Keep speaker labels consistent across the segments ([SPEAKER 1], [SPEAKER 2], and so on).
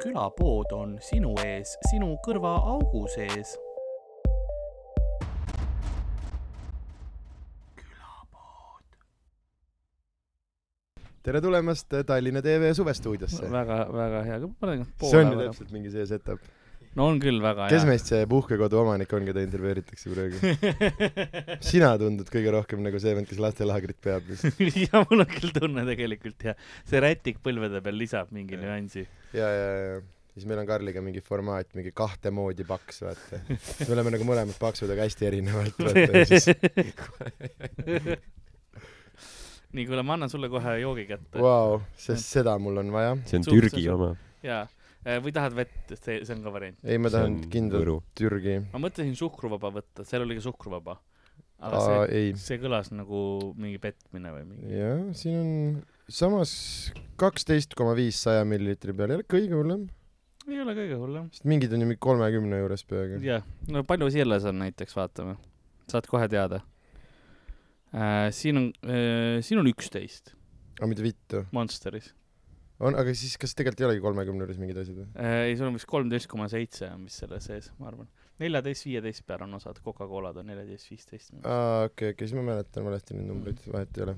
[SPEAKER 1] külapood on sinu ees, sinu kõrvaaugu sees.
[SPEAKER 2] tere tulemast Tallinna TV suvestuudiosse .
[SPEAKER 3] väga , väga hea , panen
[SPEAKER 2] see on ju . täpselt mingi see setup .
[SPEAKER 3] no on küll väga
[SPEAKER 2] kes
[SPEAKER 3] hea .
[SPEAKER 2] meist see puhkekodu omanik on , keda intervjueeritakse praegu ? sina tundud kõige rohkem nagu see vend , kes lastelaagrit peab .
[SPEAKER 3] ja mul on küll tunne tegelikult ja see rätik põlvede peal lisab mingi nüansi .
[SPEAKER 2] ja , ja , ja siis meil on Karliga mingi formaat , mingi kahte moodi paks , vaata . me oleme nagu mõlemad paksud , aga hästi erinevalt , vaata . ja siis ,
[SPEAKER 3] nii , kuule , ma annan sulle kohe joogi kätte wow.
[SPEAKER 2] vau , sest seda mul on vaja .
[SPEAKER 4] see on
[SPEAKER 3] Suht-
[SPEAKER 4] Türgi
[SPEAKER 3] see-
[SPEAKER 4] oma .
[SPEAKER 3] ja Äh, või tahad vett , see , see on ka variant .
[SPEAKER 2] ei , ma tahan kindlalt . Türgi .
[SPEAKER 3] ma mõtlesin suhkruvaba võtta , seal oli ka suhkruvaba . aga
[SPEAKER 2] aa ,
[SPEAKER 3] see ,
[SPEAKER 2] ei .
[SPEAKER 3] see kõlas nagu mingi petmine või mingi .
[SPEAKER 2] jah , siin on samas kaksteist koma viis saja milliliitri peal , ei ole kõige hullem ,
[SPEAKER 3] ei ole kõige hullem .
[SPEAKER 2] sest mingid on ju mingi kolmekümne juures peaaegu .
[SPEAKER 3] jah , no palju selles on näiteks , vaatame . saad kohe teada äh, . siin on äh, , siin on üksteist
[SPEAKER 2] aga mida vittu ?
[SPEAKER 3] Monsteris .
[SPEAKER 2] on , aga siis kas tegelikult ei olegi kolmekümne juures mingid asjad või ?
[SPEAKER 3] Äh, ei , sul on vist kolmteist koma seitse on vist selle sees , ma arvan . neljateist , viieteist peal on osad , Coca-Colad on neljateist , viisteist .
[SPEAKER 2] aa , okei , okei , siis ma mäletan valesti neid numbreid , vahet ei ole .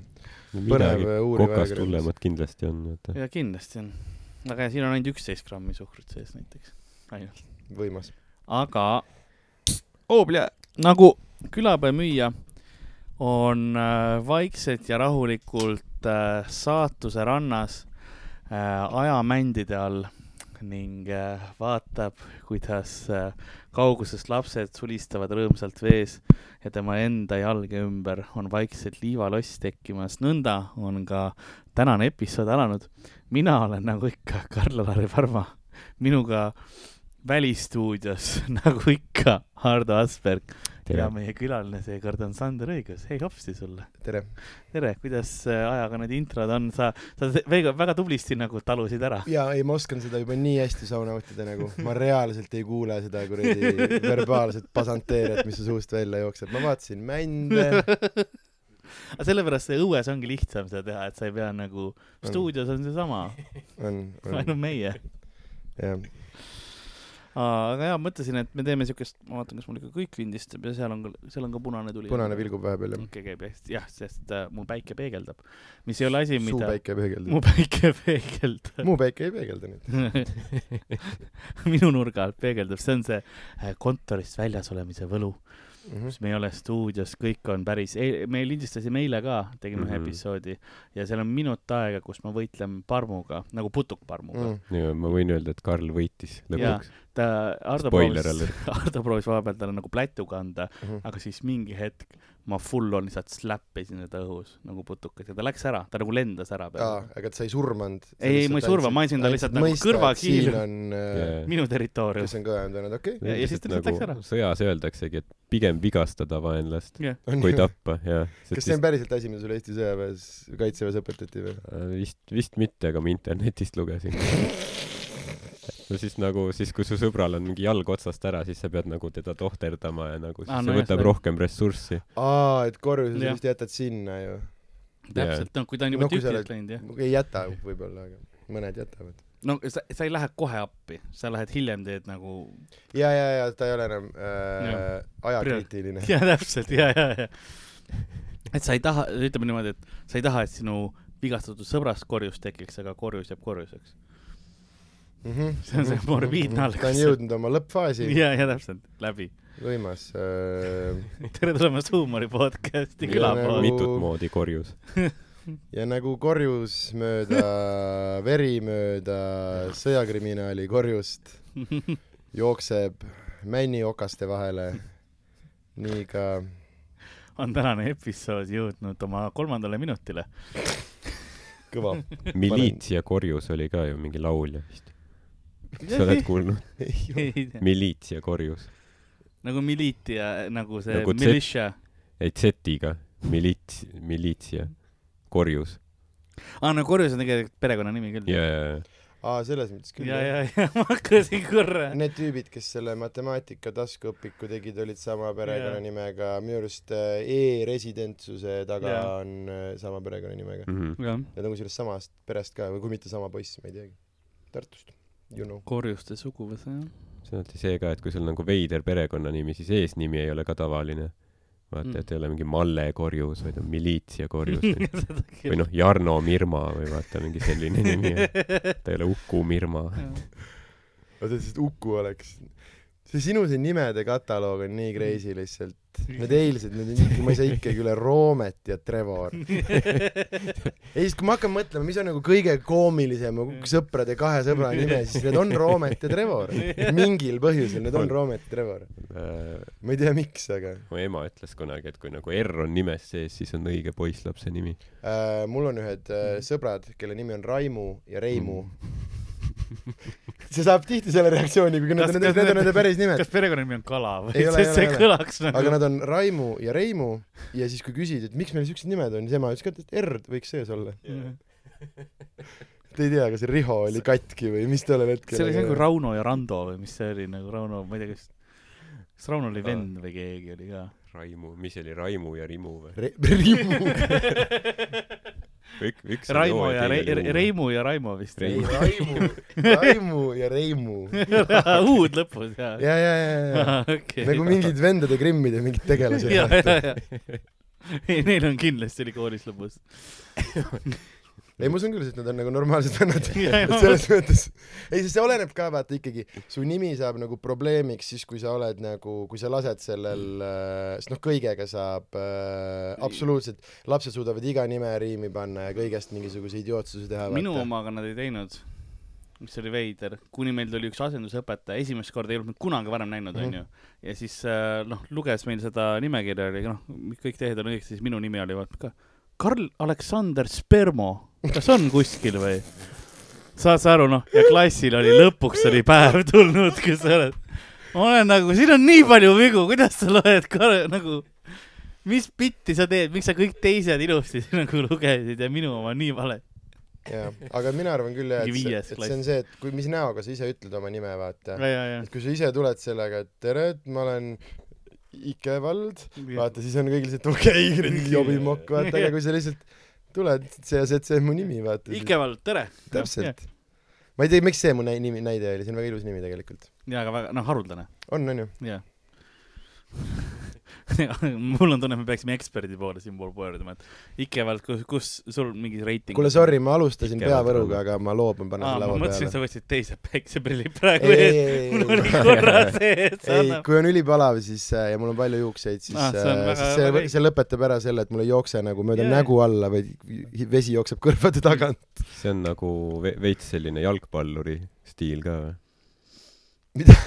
[SPEAKER 4] midagi
[SPEAKER 2] põnev äh, uuriv
[SPEAKER 4] kokast . hullemat kindlasti on , vaata .
[SPEAKER 3] ja kindlasti on . aga ja siin on ainult üksteist grammi suhkrut sees näiteks .
[SPEAKER 2] võimas .
[SPEAKER 3] aga Ooblia nagu külapäemüüja on äh, vaikselt ja rahulikult äh, saatuse rannas äh, ajamändide all ning äh, vaatab , kuidas äh, kaugusest lapsed sulistavad rõõmsalt vees ja tema enda jalge ümber on vaikselt liivaloss tekkimas . nõnda on ka tänane episood alanud . mina olen nagu ikka Karl-Lari Parma , minuga välistuudios nagu ikka Hardo Asperg ja
[SPEAKER 4] tere .
[SPEAKER 3] meie külaline seekord on Sander Õigus . hei hopsti sulle .
[SPEAKER 2] tere .
[SPEAKER 3] tere , kuidas äh, ajaga need introd on , sa , sa se- väga, väga tublisti nagu talusid ära .
[SPEAKER 2] jaa , ei ma oskan seda juba nii hästi saunavõtjate nagu , ma reaalselt ei kuule seda kuradi verbaalset pasanteeriat , mis su suust välja jookseb , ma vaatasin mände .
[SPEAKER 3] aga sellepärast see õues ongi lihtsam seda teha , et sa ei pea nagu , stuudios on seesama ,
[SPEAKER 2] on , on ,
[SPEAKER 3] ainult meie .
[SPEAKER 2] jah .
[SPEAKER 3] aga jaa , mõtlesin , et me teeme siukest , ma vaatan , kas mul ikka kõik lindistab ja seal on ka , seal on ka punane tuli .
[SPEAKER 2] punane vilgub vahepeal jah .
[SPEAKER 3] okei , käib hästi , jah , sest äh, mul päike peegeldab , mis ei ole asi ,
[SPEAKER 2] suu
[SPEAKER 3] mida .
[SPEAKER 2] päike ei peegelda
[SPEAKER 3] mu . päike peegeldab .
[SPEAKER 2] muu päike ei peegelda nüüd .
[SPEAKER 3] minu nurga alt peegeldub , see on see äh, kontorist väljas olemise võlu ,
[SPEAKER 2] Mhm.
[SPEAKER 3] kus me ei ole stuudios , kõik on päris , me lindistasime eile ka , tegime ühe mm
[SPEAKER 4] Mhm.
[SPEAKER 3] -hmm. episoodi ja seal on minut aega , kus ma võitlen parmuga , nagu putukparmuga mm .
[SPEAKER 2] Mhm,
[SPEAKER 3] -hmm.
[SPEAKER 4] ma võin öelda , et Karl võitis lõpuks .
[SPEAKER 3] ta , Ardo
[SPEAKER 4] Spoiler
[SPEAKER 3] proovis
[SPEAKER 4] alert. ,
[SPEAKER 3] Ardo proovis vahepeal talle nagu plätu kanda ,
[SPEAKER 2] mhm.
[SPEAKER 3] aga siis mingi hetk ma full on lihtsalt slap isin teda õhus nagu putukas ja ta läks ära , ta nagu lendas ära
[SPEAKER 2] aa
[SPEAKER 3] peale ,.
[SPEAKER 2] aga sa ei surmanud ?
[SPEAKER 3] Ei, ei, ma ei surva, ma andsin talle lihtsalt nagu kõrvakiilu.
[SPEAKER 2] siin on äh, ,
[SPEAKER 3] minu territoorium
[SPEAKER 2] kes . on kõvem teinud , okei .
[SPEAKER 3] Ja- ja siis ta lihtsalt läks ära.
[SPEAKER 4] sõjas öeldaksegi , et pigem vigastada vaenlast
[SPEAKER 3] jah ,
[SPEAKER 4] kui tappa , jaa .
[SPEAKER 2] kas see on päriselt asi , mida sulle Eesti sõjaväes , kaitseväes õpetati või ?
[SPEAKER 4] äh, vist , vist mitte , aga ma internetist lugesin . no siis nagu , siis kui su sõbral on mingi jalg otsast ära , siis sa pead nagu teda tohterdama ja nagu siis
[SPEAKER 3] Aa,
[SPEAKER 4] ah,
[SPEAKER 3] no
[SPEAKER 4] no see
[SPEAKER 3] jah,
[SPEAKER 4] võtab
[SPEAKER 3] seda-
[SPEAKER 4] rohkem ressurssi .
[SPEAKER 2] aa , et korjuse
[SPEAKER 3] Jah.
[SPEAKER 2] sa vist jätad sinna ju .
[SPEAKER 3] täpselt , noh , kui ta on juba
[SPEAKER 2] No
[SPEAKER 3] no,
[SPEAKER 2] kui sa
[SPEAKER 3] tükilt
[SPEAKER 2] oled-
[SPEAKER 3] läinud , jah .
[SPEAKER 2] ei jäta võib-olla , aga mõned jätavad .
[SPEAKER 3] no sa , sa ei lähe kohe appi , sa lähed hiljem teed nagu .
[SPEAKER 2] ja , ja , ja ta ei ole enam äh,
[SPEAKER 3] Jah.
[SPEAKER 2] ajakriitiline .
[SPEAKER 3] ja täpselt ja , ja , ja . et sa ei taha , ütleme niimoodi , et sa ei taha , et sinu vigastatud sõbrast korjus tekiks , aga korjus jääb korjuseks . See on see morbiidne
[SPEAKER 2] Mhm. ta on
[SPEAKER 3] algus.
[SPEAKER 2] jõudnud oma lõppfaasi .
[SPEAKER 3] ja , ja täpselt , läbi .
[SPEAKER 2] võimas äh, .
[SPEAKER 3] tere tulemast Huumori podcasti
[SPEAKER 2] Jaa, nagu-
[SPEAKER 3] külapoodi .
[SPEAKER 4] mitut moodi korjus .
[SPEAKER 2] ja nagu korjus mööda veri mööda sõjakriminaali korjust jookseb männiokaste vahele , nii ka
[SPEAKER 3] on tänane episood jõudnud oma kolmandale minutile .
[SPEAKER 2] kõva .
[SPEAKER 4] miliitsia korjus oli ka ju mingi laulja vist . sa oled kuulnud ? miliitsia korjus .
[SPEAKER 3] nagu miliiti ja nagu see
[SPEAKER 4] Nagu
[SPEAKER 3] nagu
[SPEAKER 4] Z-
[SPEAKER 3] militia .
[SPEAKER 4] ei , Z-iga . Miliits- , miliitsia korjus .
[SPEAKER 3] aa , Ah, no korjus on tegelikult perekonnanimi küll .
[SPEAKER 4] ja , ja , ja .
[SPEAKER 2] aa , selles mõttes küll .
[SPEAKER 3] ja , ja , ja ma hakkasin korra .
[SPEAKER 2] Need tüübid , kes selle matemaatika taskuõpiku tegid , olid sama perekonnanimega , minu arust äh, e-residentsuse taga
[SPEAKER 3] Jaa.
[SPEAKER 2] on äh, sama perekonnanimega .
[SPEAKER 4] Mm -hmm.
[SPEAKER 3] jah ,
[SPEAKER 2] Need on kusjuures samast perest ka või kui mitte sama poiss , ma ei teagi . Tartust . you know .
[SPEAKER 3] korjuste suguvõsa , jah .
[SPEAKER 4] see on alati see ka , et kui sul nagu veider perekonnanimi , siis eesnimi ei ole ka tavaline . vaata
[SPEAKER 3] Mm.
[SPEAKER 4] mm. , et ei ole mingi Malle Korjus , vaid on Miliitsia Korjus või,
[SPEAKER 3] Seda küll.
[SPEAKER 4] või noh , Jarno Mirma või vaata mingi selline nimi . ta ei ole Uku Mirma .
[SPEAKER 2] oota , siis Uku oleks . see sinu see nimede kataloog on nii crazy lihtsalt . Need eilsed , need on ikka , ma ei saa ikkagi üle Roomet ja Trevor . ja siis , kui ma hakkan mõtlema , mis on nagu kõige koomilisem sõprade kahe sõbra nime , siis need on Roomet ja Trevor . mingil põhjusel need on Roomet ja Trevor . ma ei tea , miks , aga
[SPEAKER 4] Äh, mu ema ütles kunagi , et kui nagu R on nimes sees , siis on õige poisslapse nimi .
[SPEAKER 2] äh, mul on ühed äh, sõbrad , kelle nimi on Raimu ja Reimu . see saab tihti selle reaktsiooni , kuigi need
[SPEAKER 3] Kas-
[SPEAKER 2] on nende ,
[SPEAKER 3] kas
[SPEAKER 2] need on
[SPEAKER 3] need-
[SPEAKER 2] nende päris nimed .
[SPEAKER 3] kas perekonnanimi on Kala või
[SPEAKER 2] Ei ? ole, ei
[SPEAKER 3] sest
[SPEAKER 2] ole,
[SPEAKER 3] see
[SPEAKER 2] ei ole.
[SPEAKER 3] kõlaks
[SPEAKER 2] aga
[SPEAKER 3] nagu .
[SPEAKER 2] nad on Raimu ja Reimu ja siis , kui küsida , et miks meil siuksed nimed on , siis ema ütles ka , et R võiks sees olla . Te ei tea , kas Riho oli katki või mis tollel hetkel
[SPEAKER 3] see oli see nagu . Rauno ja Rando või mis see oli nagu Rauno , ma ei tea , kas , kas Rauno oli vend või keegi oli ka ?
[SPEAKER 4] Raimu , mis see oli , Raimu ja Rimu või ?
[SPEAKER 2] Rimu .
[SPEAKER 4] kõik , üks oli
[SPEAKER 3] Raimo
[SPEAKER 4] O
[SPEAKER 3] ja
[SPEAKER 4] teine
[SPEAKER 3] Re-
[SPEAKER 4] oli U. ,
[SPEAKER 3] Reimu ja Raimo vist .
[SPEAKER 4] Reimu.
[SPEAKER 2] Raimu , Raimu ja Reimu .
[SPEAKER 3] U-d lõpus ja .
[SPEAKER 2] ja , ja , ja , ja , nagu mingid vendade grimmide mingid tegelased .
[SPEAKER 3] ja , ja , ja . ei , neil on kindlasti oli koolis lõpus .
[SPEAKER 2] ei , ma usun küll , sest nad on nagu normaalsed vennad .
[SPEAKER 3] Jaa, jaa.
[SPEAKER 2] selles mõttes , ei , sest see oleneb ka vaata ikkagi , su nimi saab nagu probleemiks siis , kui sa oled nagu , kui sa lased
[SPEAKER 3] Mm.
[SPEAKER 2] sellel , sest noh , kõigega saab äh, absoluutselt , lapsed suudavad iga nime riimi panna ja kõigest mingisuguse idiootsusi teha .
[SPEAKER 3] minu . omaga nad ei teinud , mis oli veider , kuni meil tuli üks asendusõpetaja , esimest korda ei olnud mind kunagi varem näinud ,
[SPEAKER 2] Mhm.
[SPEAKER 3] onju . ja siis äh, noh , luges meil seda nimekirja , oli noh , kõik tehed on õigesti , siis minu nimi oli vaata ka Karl Aleksander Spermo , kas on kuskil või ? saad sa aru , noh , ja klassil oli lõpuks oli päev tulnud , kui sa oled , ma olen nagu , siin on nii palju vigu , kuidas sa loed Karl nagu , mis bitti sa teed , miks sa kõik teised ilusti nagu lugesid ja minu oma nii vale .
[SPEAKER 2] jaa , aga mina arvan küll jah , et
[SPEAKER 3] Mingi
[SPEAKER 2] see ,
[SPEAKER 3] viies
[SPEAKER 2] et see
[SPEAKER 3] klass.
[SPEAKER 2] on see , et kui , mis näoga sa ise ütled oma nime , vaata .
[SPEAKER 3] ja , ja ,
[SPEAKER 2] et kui sa ise tuled sellega , et tere , et ma olen Ike Vald ,
[SPEAKER 3] ja .
[SPEAKER 2] vaata , siis on kõigil see , et okei okay, , jobimokk , vaata , aga kui sa lihtsalt tuled , see , see , see on mu nimi , vaata .
[SPEAKER 3] Ikevald , tere !
[SPEAKER 2] täpselt . ma ei tea , miks see mu näi- nimi , näide oli , see on väga ilus nimi tegelikult .
[SPEAKER 3] jaa , aga väga , noh , haruldane ,
[SPEAKER 2] on , on ju ?
[SPEAKER 3] jaa . mul on tunne , me peaksime eksperdi poole siinpool pöörduma , et Ikevald , kus , kus sul mingi reiting
[SPEAKER 2] kuule , sorry , ma alustasin
[SPEAKER 4] Ikka elad
[SPEAKER 2] peavõruga ,
[SPEAKER 4] rõõmu.
[SPEAKER 2] aga ma loobun panna
[SPEAKER 3] aa ,
[SPEAKER 2] selle
[SPEAKER 3] ma
[SPEAKER 2] laua
[SPEAKER 3] mõtlesin ,
[SPEAKER 2] peale .
[SPEAKER 3] sa võtsid teise päikseprillid praegu
[SPEAKER 2] ei , ei
[SPEAKER 3] ees ., mul
[SPEAKER 2] ei ,
[SPEAKER 3] oli
[SPEAKER 2] ei ,
[SPEAKER 3] korra see , et sa
[SPEAKER 2] ei ,
[SPEAKER 3] annad .
[SPEAKER 2] kui on ülipalav , siis äh, ja mul on palju juukseid , siis
[SPEAKER 3] Ah,
[SPEAKER 2] ah,
[SPEAKER 3] see on
[SPEAKER 2] see,
[SPEAKER 3] väga-
[SPEAKER 2] siis see,
[SPEAKER 3] väga õige.
[SPEAKER 2] see lõpetab ära selle , et mul ei jookse nagu mööda
[SPEAKER 3] Jaa,
[SPEAKER 2] yeah.
[SPEAKER 3] jaa.
[SPEAKER 2] nägu alla , vaid vesi jookseb kõrvade tagant .
[SPEAKER 4] see on nagu ve- veits selline jalgpalluri stiil ka või ?
[SPEAKER 2] Mida? ?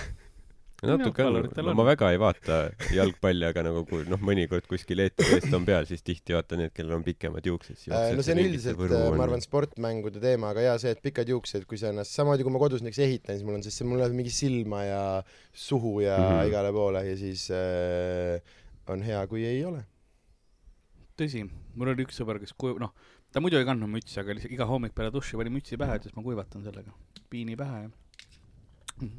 [SPEAKER 4] natuke on ,
[SPEAKER 3] Jalgpalluritel
[SPEAKER 4] no
[SPEAKER 3] on.
[SPEAKER 4] ma väga ei vaata jalgpalli , aga nagu kui noh , mõnikord kuskil eetrist on peal , siis tihti vaata need , kellel on pikemad juuksed .
[SPEAKER 2] Äh, no see on üldiselt , ma arvan , sportmängude teema , aga jaa , see , et pikad juuksed , kui sa ennast , samamoodi kui ma kodus näiteks ehitan , siis mul on , sest see mul läheb mingi silma ja suhu ja mm
[SPEAKER 4] Mhm.
[SPEAKER 2] -hmm. igale poole ja siis äh, on hea , kui ei ole .
[SPEAKER 3] tõsi , mul oli üks sõber , kes kuiv- , noh , ta muidu ei kandnud mütsi , aga lihtsalt iga hommik peale duši pani mütsi pähe , ütles ma kuivatan sellega piini pähe ja .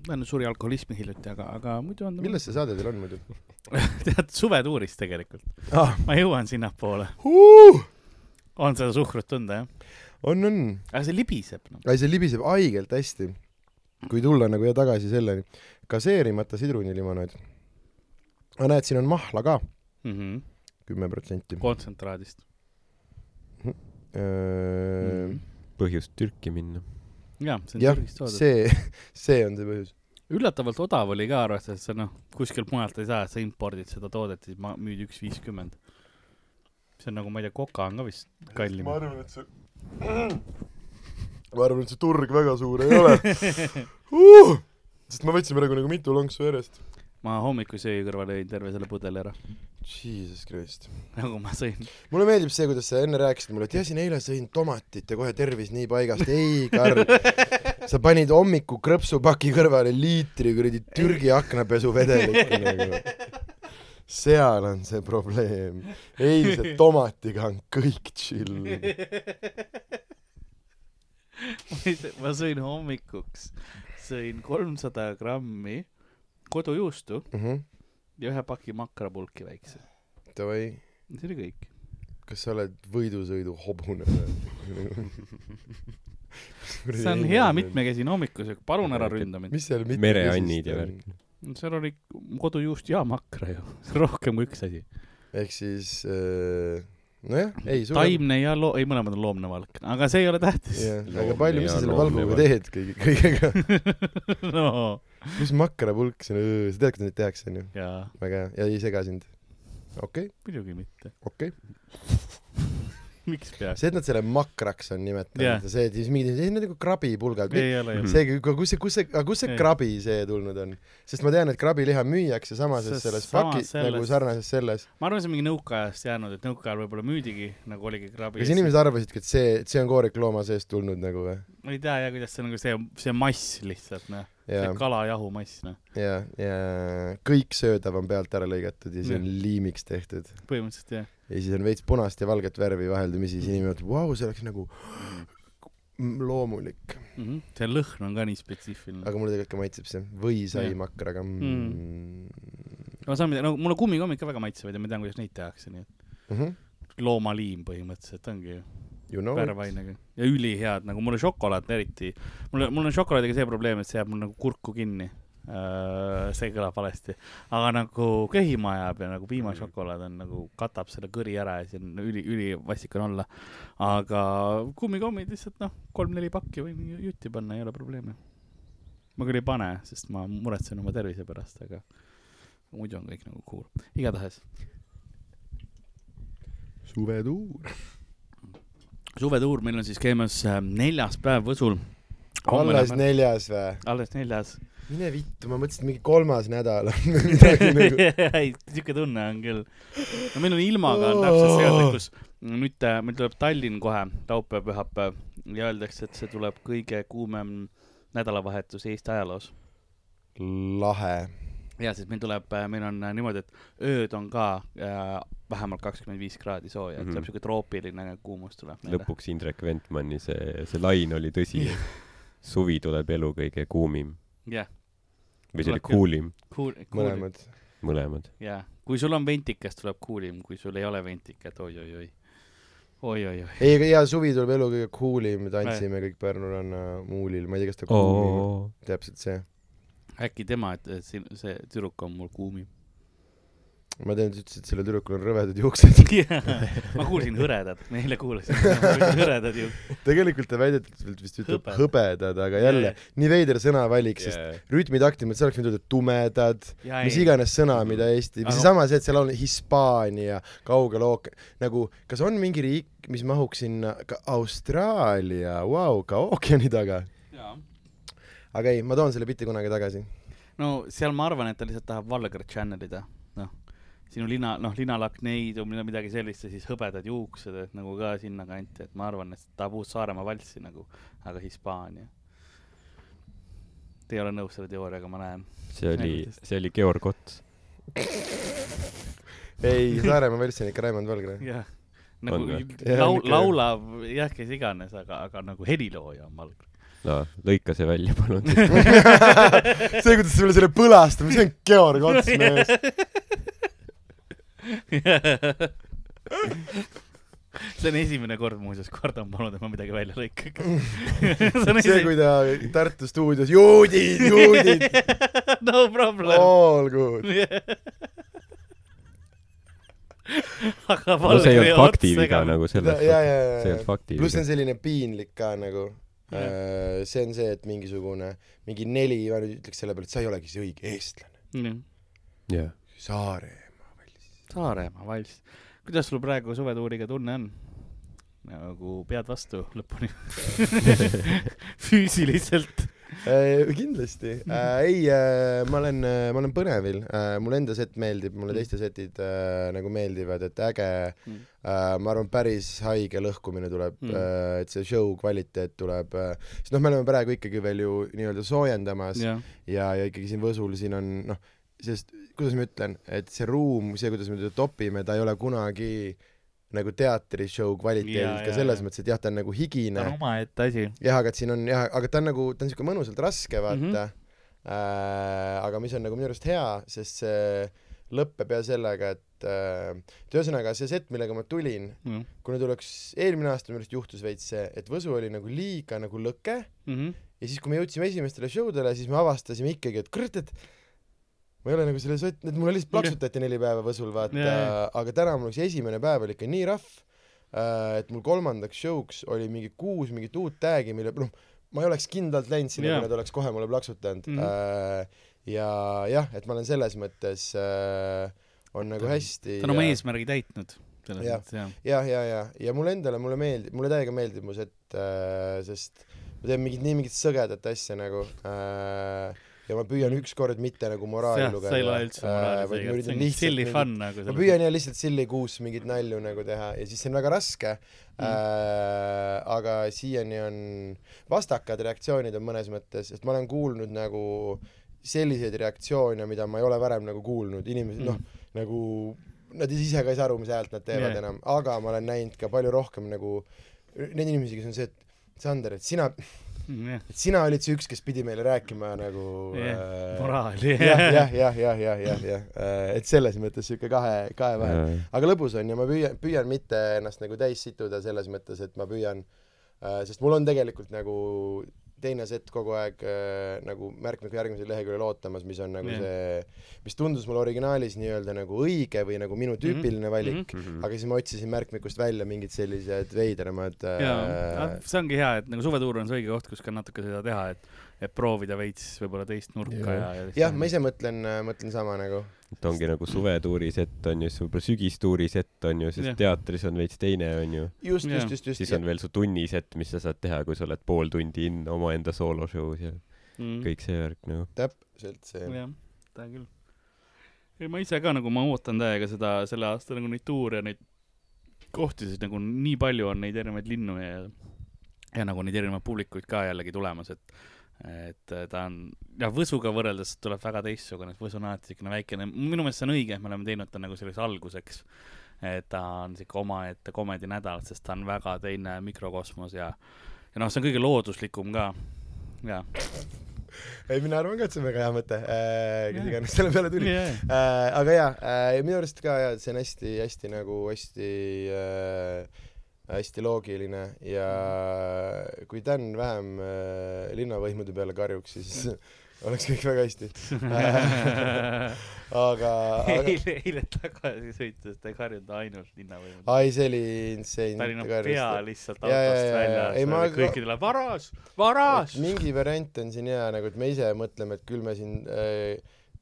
[SPEAKER 3] ta nüüd suri alkoholismi hiljuti , aga , aga muidu on ta
[SPEAKER 2] millest see saade teil on muidu ?
[SPEAKER 3] tead , suvetuurist tegelikult .
[SPEAKER 2] Ah.
[SPEAKER 3] ma jõuan sinnapoole . on seda suhkrut tunda , jah ?
[SPEAKER 2] on , on .
[SPEAKER 3] aga see libiseb , noh .
[SPEAKER 2] ei , see libiseb haigelt hästi . kui tulla nagu ja tagasi selleni , gaseerimata sidrunilimonaad . aga näed , siin on mahla ka ,
[SPEAKER 3] Mm -hmm.
[SPEAKER 2] Mhm. kümme protsenti .
[SPEAKER 3] kontsentraadist mm . -hmm.
[SPEAKER 4] põhjust Türki minna .
[SPEAKER 3] jaa , see
[SPEAKER 2] Ehm, Äh,
[SPEAKER 3] on
[SPEAKER 2] jah
[SPEAKER 3] Türgist , toodud .
[SPEAKER 2] see , see on see põhjus .
[SPEAKER 3] üllatavalt odav oli ka , arvestades , et sa noh , kuskilt mujalt ei saa , et sa impordid seda toodet , siis ma müüd üks viiskümmend . see on nagu , ma ei tea , koka on ka vist kallim .
[SPEAKER 2] arvan , et see , ma arvan , et see turg väga suur ei ole uh! . sest ma võtsin praegu nagu mitu lonksu järjest .
[SPEAKER 3] ma hommikusöögi kõrval jõin terve selle pudeli ära ,
[SPEAKER 2] Jesus Christ .
[SPEAKER 3] nagu ma sõin .
[SPEAKER 2] mulle meeldib see , kuidas sa enne rääkisid mulle , et jah , siin eile sõin tomatit ja kohe tervis nii paigast . ei , Karl , sa panid hommiku krõpsupaki kõrvale liitri kuradi Türgi aknapesuvedelikku nagu . seal on see probleem . eilse tomatiga on kõik chill .
[SPEAKER 3] ma sõin hommikuks , sõin kolmsada grammi kodujuustu
[SPEAKER 2] Mhm.
[SPEAKER 3] ja ühe paki makrapulki väikse .
[SPEAKER 2] Davai ,
[SPEAKER 3] see oli kõik .
[SPEAKER 2] kas sa oled võidusõidu hobune või ?
[SPEAKER 3] see on hea . mitmekesine hommikusöök , palun ära ründa mind .
[SPEAKER 2] mis seal
[SPEAKER 4] mereannid ja värk. .
[SPEAKER 3] seal oli kodujuust ja makra ju , rohkem kui üks asi .
[SPEAKER 2] ehk siis äh, nojah , ei .
[SPEAKER 3] taimne ja loo- , ei mõlemad on loomne valk , aga see ei ole tähtis .
[SPEAKER 2] jah , aga
[SPEAKER 4] Loomne
[SPEAKER 2] palju , mis
[SPEAKER 4] ja
[SPEAKER 2] sa selle
[SPEAKER 4] loomne
[SPEAKER 2] valguga
[SPEAKER 4] valk.
[SPEAKER 2] teed kõige , kõigega ?
[SPEAKER 3] no
[SPEAKER 2] mis makrapulk siin , sa tead , kuidas neid tehakse , onju ?
[SPEAKER 3] jaa ,
[SPEAKER 2] väga hea , ja ei sega sind . okei okay, ,
[SPEAKER 3] muidugi mitte .
[SPEAKER 2] okei okay. .
[SPEAKER 3] miks peaks ?
[SPEAKER 2] see , et nad selle makraks on nimetanud
[SPEAKER 3] Jah.
[SPEAKER 2] yeah. ja see , et siis mingi , see on nagu krabipulgad .
[SPEAKER 3] ei ole ju .
[SPEAKER 2] see , kus see , kus see , aga kus see
[SPEAKER 3] Ei.
[SPEAKER 2] krabi see tulnud on ? sest ma tean , et krabiliha müüakse samases
[SPEAKER 3] Sest
[SPEAKER 2] selles
[SPEAKER 3] samas
[SPEAKER 2] pakis
[SPEAKER 3] selles-
[SPEAKER 2] nagu sarnases selles .
[SPEAKER 3] ma arvan , see on mingi nõukaajast jäänud , et nõukaajal võib-olla müüdigi nagu oligi krabi .
[SPEAKER 2] kas inimesed arvasidki , et see , et see on koorik looma seest tulnud nagu või ?
[SPEAKER 3] ma ei tea jah , kuidas see nagu see , see mass lihtsalt noh , see
[SPEAKER 2] ja ,
[SPEAKER 3] kalajahu mass noh ,
[SPEAKER 2] ja , ja kõik söödav on pealt ära lõigatud ja siis on liimiks tehtud .
[SPEAKER 3] põhimõtteliselt jah .
[SPEAKER 2] ja siis on veits punast ja valget värvi vaheldumisi , siis inimene mõtleb , vau , see oleks nagu mm, loomulik .
[SPEAKER 3] Mm -hmm. see lõhn on ka nii spetsiifiline .
[SPEAKER 2] aga mulle tegelikult ka maitseb see või sai
[SPEAKER 3] Jah.
[SPEAKER 2] makraga
[SPEAKER 3] Mm.
[SPEAKER 2] mm. .
[SPEAKER 3] ma saan , no mulle kummikommid ka väga maitsevad ja ma tean , kuidas neid tehakse , nii et
[SPEAKER 2] Mm -hmm.
[SPEAKER 3] loomaliim põhimõtteliselt ongi ju
[SPEAKER 2] You know it .
[SPEAKER 3] värvainega ja ülihead , nagu mulle šokolaad eriti , mulle , mul on šokolaadiga see probleem , et see jääb mul nagu kurku kinni . see kõlab valesti , aga nagu köhima ajab ja nagu piimašokolaad on nagu katab selle kõri ära ja see on üli , ülivastik on olla . aga kummikommid lihtsalt noh , kolm-neli pakki võin ju- jutti panna , ei ole probleemi . ma küll ei pane , sest ma muretsen oma tervise pärast , aga muidu on kõik nagu cool , igatahes
[SPEAKER 2] suvetuur .
[SPEAKER 3] suvetuur meil on siis käimas äh, neljas päev Võsul .
[SPEAKER 2] alles neljas või ?
[SPEAKER 3] alles neljas .
[SPEAKER 2] mine vittu , ma mõtlesin , et mingi kolmas nädal on või midagi nagu .
[SPEAKER 3] ei , siuke tunne on küll . no meil on ilmaga on täpselt see olnud , kus nüüd äh, meil tuleb Tallinn kohe , laupäev , pühapäev ja öeldakse , et see tuleb kõige kuumem nädalavahetus Eesti ajaloos .
[SPEAKER 2] lahe .
[SPEAKER 3] ja siis meil tuleb , meil on äh, niimoodi , et ööd on ka äh, vähemalt kakskümmend viis kraadi sooja , et
[SPEAKER 4] Mhm.
[SPEAKER 3] tuleb siuke troopiline nagu kuumus tuleb meile .
[SPEAKER 4] lõpuks Indrek Ventmanni see , see lain oli tõsi . suvi tuleb elu kõige kuumim
[SPEAKER 3] jah ,
[SPEAKER 4] või see oli
[SPEAKER 3] Tuleb küll.
[SPEAKER 4] kuulim ,
[SPEAKER 3] kuul- , kuul- ,
[SPEAKER 2] mõlemad .
[SPEAKER 4] mõlemad .
[SPEAKER 3] jaa , kui sul on ventikas , tuleb kuulim , kui sul ei ole ventikat oi, , oi-oi-oi . oi-oi-oi .
[SPEAKER 2] ei , aga hea suvi tuleb elu kõige coolim , tantsime kõik Pärnu ranna muulil , ma ei tea , kas ta kuumim on . täpselt see .
[SPEAKER 3] äkki tema , et , et siin see tüdruk on mul kuumim .
[SPEAKER 2] ma tean , sa ütlesid , et sellel tüdrukul on rõvedad juuksed .
[SPEAKER 3] ma kuulsin hõredad , ma eile kuulasin , hõredad ju .
[SPEAKER 2] tegelikult ta väidetavalt vist ütleb
[SPEAKER 3] Hõbedad.
[SPEAKER 2] hõbedad , aga jälle nii veider sõnavalik , sest
[SPEAKER 4] Yeah.
[SPEAKER 2] rütmitaktimad , see oleks võinud öelda tumedad , mis
[SPEAKER 3] jaa ,
[SPEAKER 2] iganes sõna , mida Eesti ,
[SPEAKER 3] Aga-
[SPEAKER 2] seesama see , et seal on Hispaania kaugel ooke- , nagu kas on mingi riik , mis mahuks sinna , ka Austraalia , vau , ka ookeani taga .
[SPEAKER 3] jaa .
[SPEAKER 2] aga ei , ma toon selle bitti kunagi tagasi .
[SPEAKER 3] no seal ma arvan , et ta lihtsalt tahab valgret channel ida , noh . sinu lina , noh , linalakk neidub , midagi sellist ja siis hõbedad juuksed , et nagu ka sinnakanti , et ma arvan , et tahab uut Saaremaa valssi nagu , aga Hispaania . Te ei ole nõus selle teooriaga , ma näen .
[SPEAKER 4] see oli , see oli Georg Ots .
[SPEAKER 2] ei , Saaremaa välts on ikka Raimond Valgre .
[SPEAKER 3] jah , nagu
[SPEAKER 4] On või?
[SPEAKER 2] Jah,
[SPEAKER 3] laul ,
[SPEAKER 2] niisugune-
[SPEAKER 3] laulav jah , kes iganes , aga , aga nagu helilooja on Valgre .
[SPEAKER 4] no lõika see välja , palun .
[SPEAKER 2] see , kuidas sa mulle selle põlastad , see on Georg Ots mees .
[SPEAKER 3] see on esimene kord muuseas , kordan palun , et ma midagi välja lõikaks . see on
[SPEAKER 2] see , kui ta Tartu stuudios , juudid , juudid ,
[SPEAKER 3] no problem oh. .
[SPEAKER 2] all good .
[SPEAKER 3] aga
[SPEAKER 4] no see
[SPEAKER 3] Valgre
[SPEAKER 4] ei olnud
[SPEAKER 3] ots
[SPEAKER 4] faktiviga
[SPEAKER 3] segab .
[SPEAKER 4] nagu
[SPEAKER 2] ja ,
[SPEAKER 4] selles
[SPEAKER 2] ja ,
[SPEAKER 4] suhtes ,
[SPEAKER 2] ja ,
[SPEAKER 4] see ei
[SPEAKER 2] ja
[SPEAKER 4] olnud ,
[SPEAKER 2] pluss see
[SPEAKER 4] faktiviga
[SPEAKER 2] on . selline piinlik ka nagu . see on see , et mingisugune , mingi neli , ma nüüd ütleks selle peale , et sa ei olegi see õige eestlane .
[SPEAKER 4] jah ,
[SPEAKER 2] Saare .
[SPEAKER 3] Saaremaa valss . kuidas sul praegu suvetuuriga tunne on ? nagu pead vastu lõpuni ? füüsiliselt .
[SPEAKER 2] Äh, kindlasti , ei , ma olen , ma olen põnevil , mulle enda set meeldib , mulle teiste setid äh, nagu meeldivad , et äge ,
[SPEAKER 3] Mm.
[SPEAKER 2] ma arvan , päris haige lõhkumine tuleb äh,
[SPEAKER 3] Mm. ,
[SPEAKER 2] et see show kvaliteet tuleb , sest noh , me oleme praegu ikkagi veel ju nii-öelda soojendamas
[SPEAKER 3] jah ,
[SPEAKER 2] ja , ja ikkagi siin Võsul siin on noh , sest kuidas ma ütlen , et see ruum , see , kuidas me teda topime , ta ei ole kunagi nagu teatrishow
[SPEAKER 3] Jaa,
[SPEAKER 2] kvaliteedilt ka
[SPEAKER 3] jaa,
[SPEAKER 2] selles
[SPEAKER 3] jaa. noh.
[SPEAKER 2] mõttes , et jah , ta on nagu
[SPEAKER 3] ta
[SPEAKER 2] higine
[SPEAKER 3] on omaette asi .
[SPEAKER 2] jah , aga et siin on jah , aga ta on nagu , ta on siuke mõnusalt raske , vaata mm .
[SPEAKER 3] Mhm.
[SPEAKER 2] -hmm. Äh, aga mis on nagu minu arust hea , sest see lõpeb ja sellega , et äh, et ühesõnaga see set , millega ma tulin ,
[SPEAKER 3] jah .
[SPEAKER 2] kui nüüd oleks , eelmine aasta minu arust juhtus veits see , et Võsu oli nagu liiga nagu lõke
[SPEAKER 3] Mhm.
[SPEAKER 2] ja siis , kui me jõudsime esimestele show dele , siis me avastasime ikkagi , et kurat , et ma ei ole nagu selle sot- , et mulle lihtsalt plaksutati neli päeva Võsul , vaata
[SPEAKER 3] Jaa, ,
[SPEAKER 2] aga täna mul oleks esimene päev oli ikka nii rahv , et mul kolmandaks show'ks oli mingi kuus mingit uut tag'i , mille , noh , ma ei oleks kindlalt läinud sinna ,
[SPEAKER 3] Jaa.
[SPEAKER 2] kui nad oleks kohe mulle plaksutanud
[SPEAKER 3] Mhm.
[SPEAKER 2] mm . -hmm. ja jah , et ma olen selles mõttes äh, on nagu
[SPEAKER 3] Tänan.
[SPEAKER 2] hästi
[SPEAKER 3] ta on oma
[SPEAKER 2] ja-
[SPEAKER 3] eesmärgi täitnud . selles
[SPEAKER 2] Jah.
[SPEAKER 3] mõttes jah .
[SPEAKER 2] jah , ja , ja , ja mulle endale , mulle meeldib , mulle täiega meeldib mu set äh, , sest ma teen mingit , nii mingit sõgedat asja nagu äh, ja ma püüan ükskord mitte nagu moraali
[SPEAKER 3] jah ,
[SPEAKER 2] lugeda .
[SPEAKER 3] sa ei loe üldse
[SPEAKER 2] Äh,
[SPEAKER 3] moraali seega , see on silly fun . nagu
[SPEAKER 2] ma . püüan jah lihtsalt silly kuus mingeid nalju nagu teha ja siis see on väga raske mm. . Äh, aga siiani on vastakad reaktsioonid on mõnes mõttes , sest ma olen kuulnud nagu selliseid reaktsioone , mida ma ei ole varem nagu kuulnud , inimesed mm.
[SPEAKER 3] Mm.
[SPEAKER 2] noh , nagu nad ise ka ei saa aru , mis häält nad teevad
[SPEAKER 3] Jah.
[SPEAKER 2] yeah. enam , aga ma olen näinud ka palju rohkem nagu neid inimesi , kes on see , et Sander , et sina ,
[SPEAKER 3] Mm, jah ,
[SPEAKER 2] et sina olid see üks , kes pidi meile rääkima nagu
[SPEAKER 3] Jah,
[SPEAKER 2] yeah.
[SPEAKER 3] moraali .
[SPEAKER 2] jah , jah , jah , jah , jah , jah , jah , et selles mõttes sihuke kahe , kahe vahel . aga lõbus on ja ma püüan , püüan mitte ennast nagu täis situda selles mõttes , et ma püüan , sest mul on tegelikult nagu teine set kogu aeg äh, nagu märkmiku järgmisel leheküljel ootamas , mis on nagu
[SPEAKER 3] Jah.
[SPEAKER 2] yeah. see , mis tundus mulle originaalis nii-öelda nagu õige või nagu minu tüüpiline mm -hmm. valik mm ,
[SPEAKER 4] Mhm.
[SPEAKER 2] -hmm. aga siis ma otsisin märkmikust välja mingid sellised veidramad
[SPEAKER 3] jaa ,
[SPEAKER 2] äh,
[SPEAKER 3] see ongi hea , et nagu suvetuur on see õige koht , kus ka natuke seda teha , et , et proovida veits võib-olla teist nurka ja, ja .
[SPEAKER 2] jah , ma ise mõtlen , mõtlen sama nagu
[SPEAKER 4] et ongi nagu suvetuuris , et on ju , siis võib-olla sügistuuris , et on ju ,
[SPEAKER 3] Jah.
[SPEAKER 4] sest teatris on veits teine , on ju .
[SPEAKER 2] just ,
[SPEAKER 3] Jaa.
[SPEAKER 2] just , just , just
[SPEAKER 4] siis on veel su tunnis , et mis sa saad teha , kui sa oled pool tundi in omaenda sooloshow's ja
[SPEAKER 3] kõik .
[SPEAKER 4] kõik see värk nagu .
[SPEAKER 2] täpselt see ,
[SPEAKER 3] jah , seda küll . ei , ma ise ka nagu , ma ootan täiega seda , selle aasta nagu neid tuure , neid kohti , sest nagu nii palju on neid erinevaid linnu ja , ja nagu neid erinevaid publikuid ka jällegi tulemas , et et äh, ta on , jah , Võsuga võrreldes tuleb väga teistsugune , sest Võsu on alati niisugune väikene , minu meelest see on õige , et me oleme teinud ta nagu selliseks alguseks , et ta on niisugune omaette komedinädal , sest ta on väga teine mikrokosmos ja ja noh , see on kõige looduslikum ka , jaa .
[SPEAKER 2] ei mina arvan ka , et see on väga hea mõte äh, , kes iganes selle peale tuli . äh, aga jaa äh, , minu arust ka jaa , et see on hästi-hästi nagu hästi äh, , hästi loogiline ja kui Dan vähem äh, linnavõimude peale karjuks , siis oleks kõik väga hästi . aga , aga ,
[SPEAKER 3] eile , eile tagasi sõites ta ei karjunud ainult linnavõimu .
[SPEAKER 2] ai see oli nagu insane .
[SPEAKER 3] Tallinna pea lihtsalt
[SPEAKER 2] Jaa, jaa,
[SPEAKER 3] autost
[SPEAKER 2] jaa,
[SPEAKER 3] välja
[SPEAKER 2] jaa. Ei, , ma-
[SPEAKER 3] kõikidele varas , varas .
[SPEAKER 2] mingi variant on siin hea , nagu et me ise mõtleme , et küll me siin äh,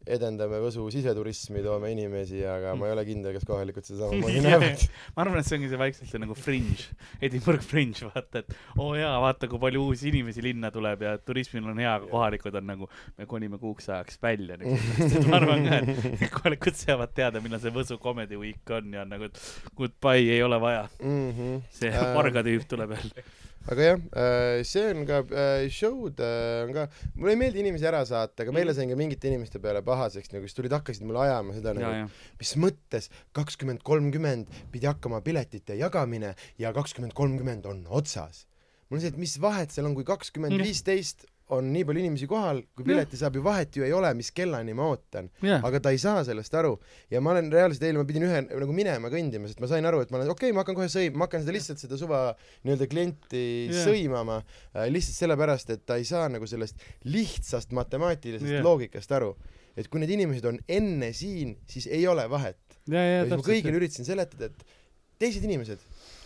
[SPEAKER 2] edendame Võsu siseturismi , toome inimesi , aga ma ei ole kindel , kas kohalikud seda samamoodi näevad .
[SPEAKER 3] ma arvan , et see ongi see vaikselt see nagu fringe , Edinburgh fringe , vaata , et oo oh jaa , vaata , kui palju uusi inimesi linna tuleb ja turismil on hea , aga kohalikud on nagu , me kolime kuuks ajaks välja nüüd . ma arvan ka , et kohalikud saavad teada , millal see Võsu Comedy Week on ja on nagu , et goodbye , ei ole vaja ,
[SPEAKER 2] mm . -hmm.
[SPEAKER 3] see vargatüüp tuleb jälle .
[SPEAKER 2] aga jah , see on ka , show'd äh, on ka , mulle ei meeldi inimesi ära saata , aga meile sain ka mingite inimeste peale pahaseks , nagu kes tulid , hakkasid mulle ajama seda
[SPEAKER 3] ja ,
[SPEAKER 2] nagu ,
[SPEAKER 3] ja ,
[SPEAKER 2] mis mõttes kakskümmend kolmkümmend pidi hakkama piletite jagamine ja kakskümmend kolmkümmend on otsas . mul on see , et mis vahet seal on , kui kakskümmend
[SPEAKER 3] Jah.
[SPEAKER 2] viisteist on nii palju inimesi kohal , kui pileti saab ju vahet ju ei ole , mis kellani ma ootan .
[SPEAKER 3] ja ,
[SPEAKER 2] aga ta ei saa sellest aru ja ma olen reaalselt eile ma pidin ühe nagu minema kõndima , sest ma sain aru , et ma olen okei okay, , ma hakkan kohe sõima , ma hakkan seda lihtsalt seda suva nii-öelda klienti
[SPEAKER 3] Jah.
[SPEAKER 2] yeah. sõimama äh, lihtsalt sellepärast , et ta ei saa nagu sellest lihtsast matemaatilisest
[SPEAKER 3] Jah.
[SPEAKER 2] yeah. loogikast aru , et kui need inimesed on enne siin , siis ei ole vahet .
[SPEAKER 3] ja , ja
[SPEAKER 2] ja siis ma
[SPEAKER 3] täpselt .
[SPEAKER 2] kõigile üritasin seletada , et teised inimesed ,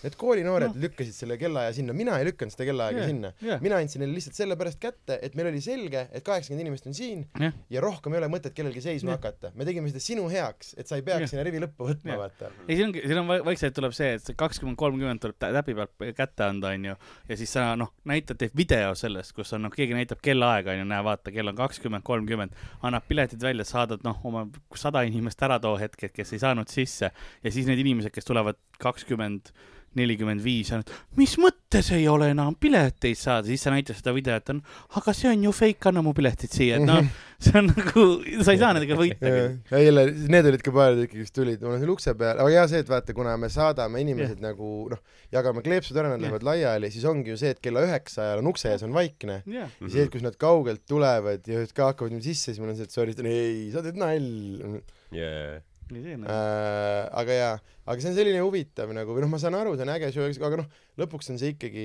[SPEAKER 2] need koolinoored no. lükkasid selle kellaaja sinna , mina ei lükkanud seda kellaaega
[SPEAKER 3] Jah,
[SPEAKER 2] yeah. sinna
[SPEAKER 3] jah.
[SPEAKER 2] mina andsin neile lihtsalt sellepärast kätte , et meil oli selge , et kaheksakümmend inimest on siin
[SPEAKER 3] Jah.
[SPEAKER 2] ja rohkem ei ole mõtet kellelgi seisma
[SPEAKER 3] Jah.
[SPEAKER 2] hakata . me tegime seda sinu heaks , et sa ei peaks
[SPEAKER 3] Jah.
[SPEAKER 2] sinna rivi lõppu võtma
[SPEAKER 3] Jah. ,
[SPEAKER 2] vaata .
[SPEAKER 3] ei , siin ongi , siin on vai- vaikselt tuleb see , et see kakskümmend , kolmkümmend tuleb tä- täpi pealt kätte anda , onju . ja siis sa noh , näitad , teeb video sellest , kus on noh , keegi näitab kellaaega , onju , näe , vaata , kell on kakskümmend , kolmkümmend , annab piletid välja , saadad noh , oma sada inimest ära too hetk , et kes ei saanud sisse ja siis need inimesed , kes tulevad kakskümmend , nelikümmend viis , on , et mis mõttes ei ole enam pileteid saada , siis sa näitad seda videot , on , aga see on ju fake , anna mu piletid siia , et noh , see on nagu , sa ei saa nendega võita .
[SPEAKER 2] eile , Äh, need olid ka paar tükki , kes tulid , mul on siin ukse peal , aga hea see , et vaata , kuna me saadame inimesed yeah. nagu noh , jagame kleepsud ära , nad
[SPEAKER 3] Jah.
[SPEAKER 2] lähevad laiali , siis ongi ju see , et kella üheksa ajal on ukse ees , on vaikne .
[SPEAKER 3] jah ,
[SPEAKER 2] ja see , et kus nad kaugelt tulevad ja ka hakkavad nüüd sisse , siis mul on see , et sorry , ei , sa teed nalja .
[SPEAKER 4] jajah .
[SPEAKER 3] nii see nagu .
[SPEAKER 2] äh, aga jaa , aga see on selline huvitav nagu , või noh , ma saan aru , see on äge show , aga noh , lõpuks on see ikkagi ,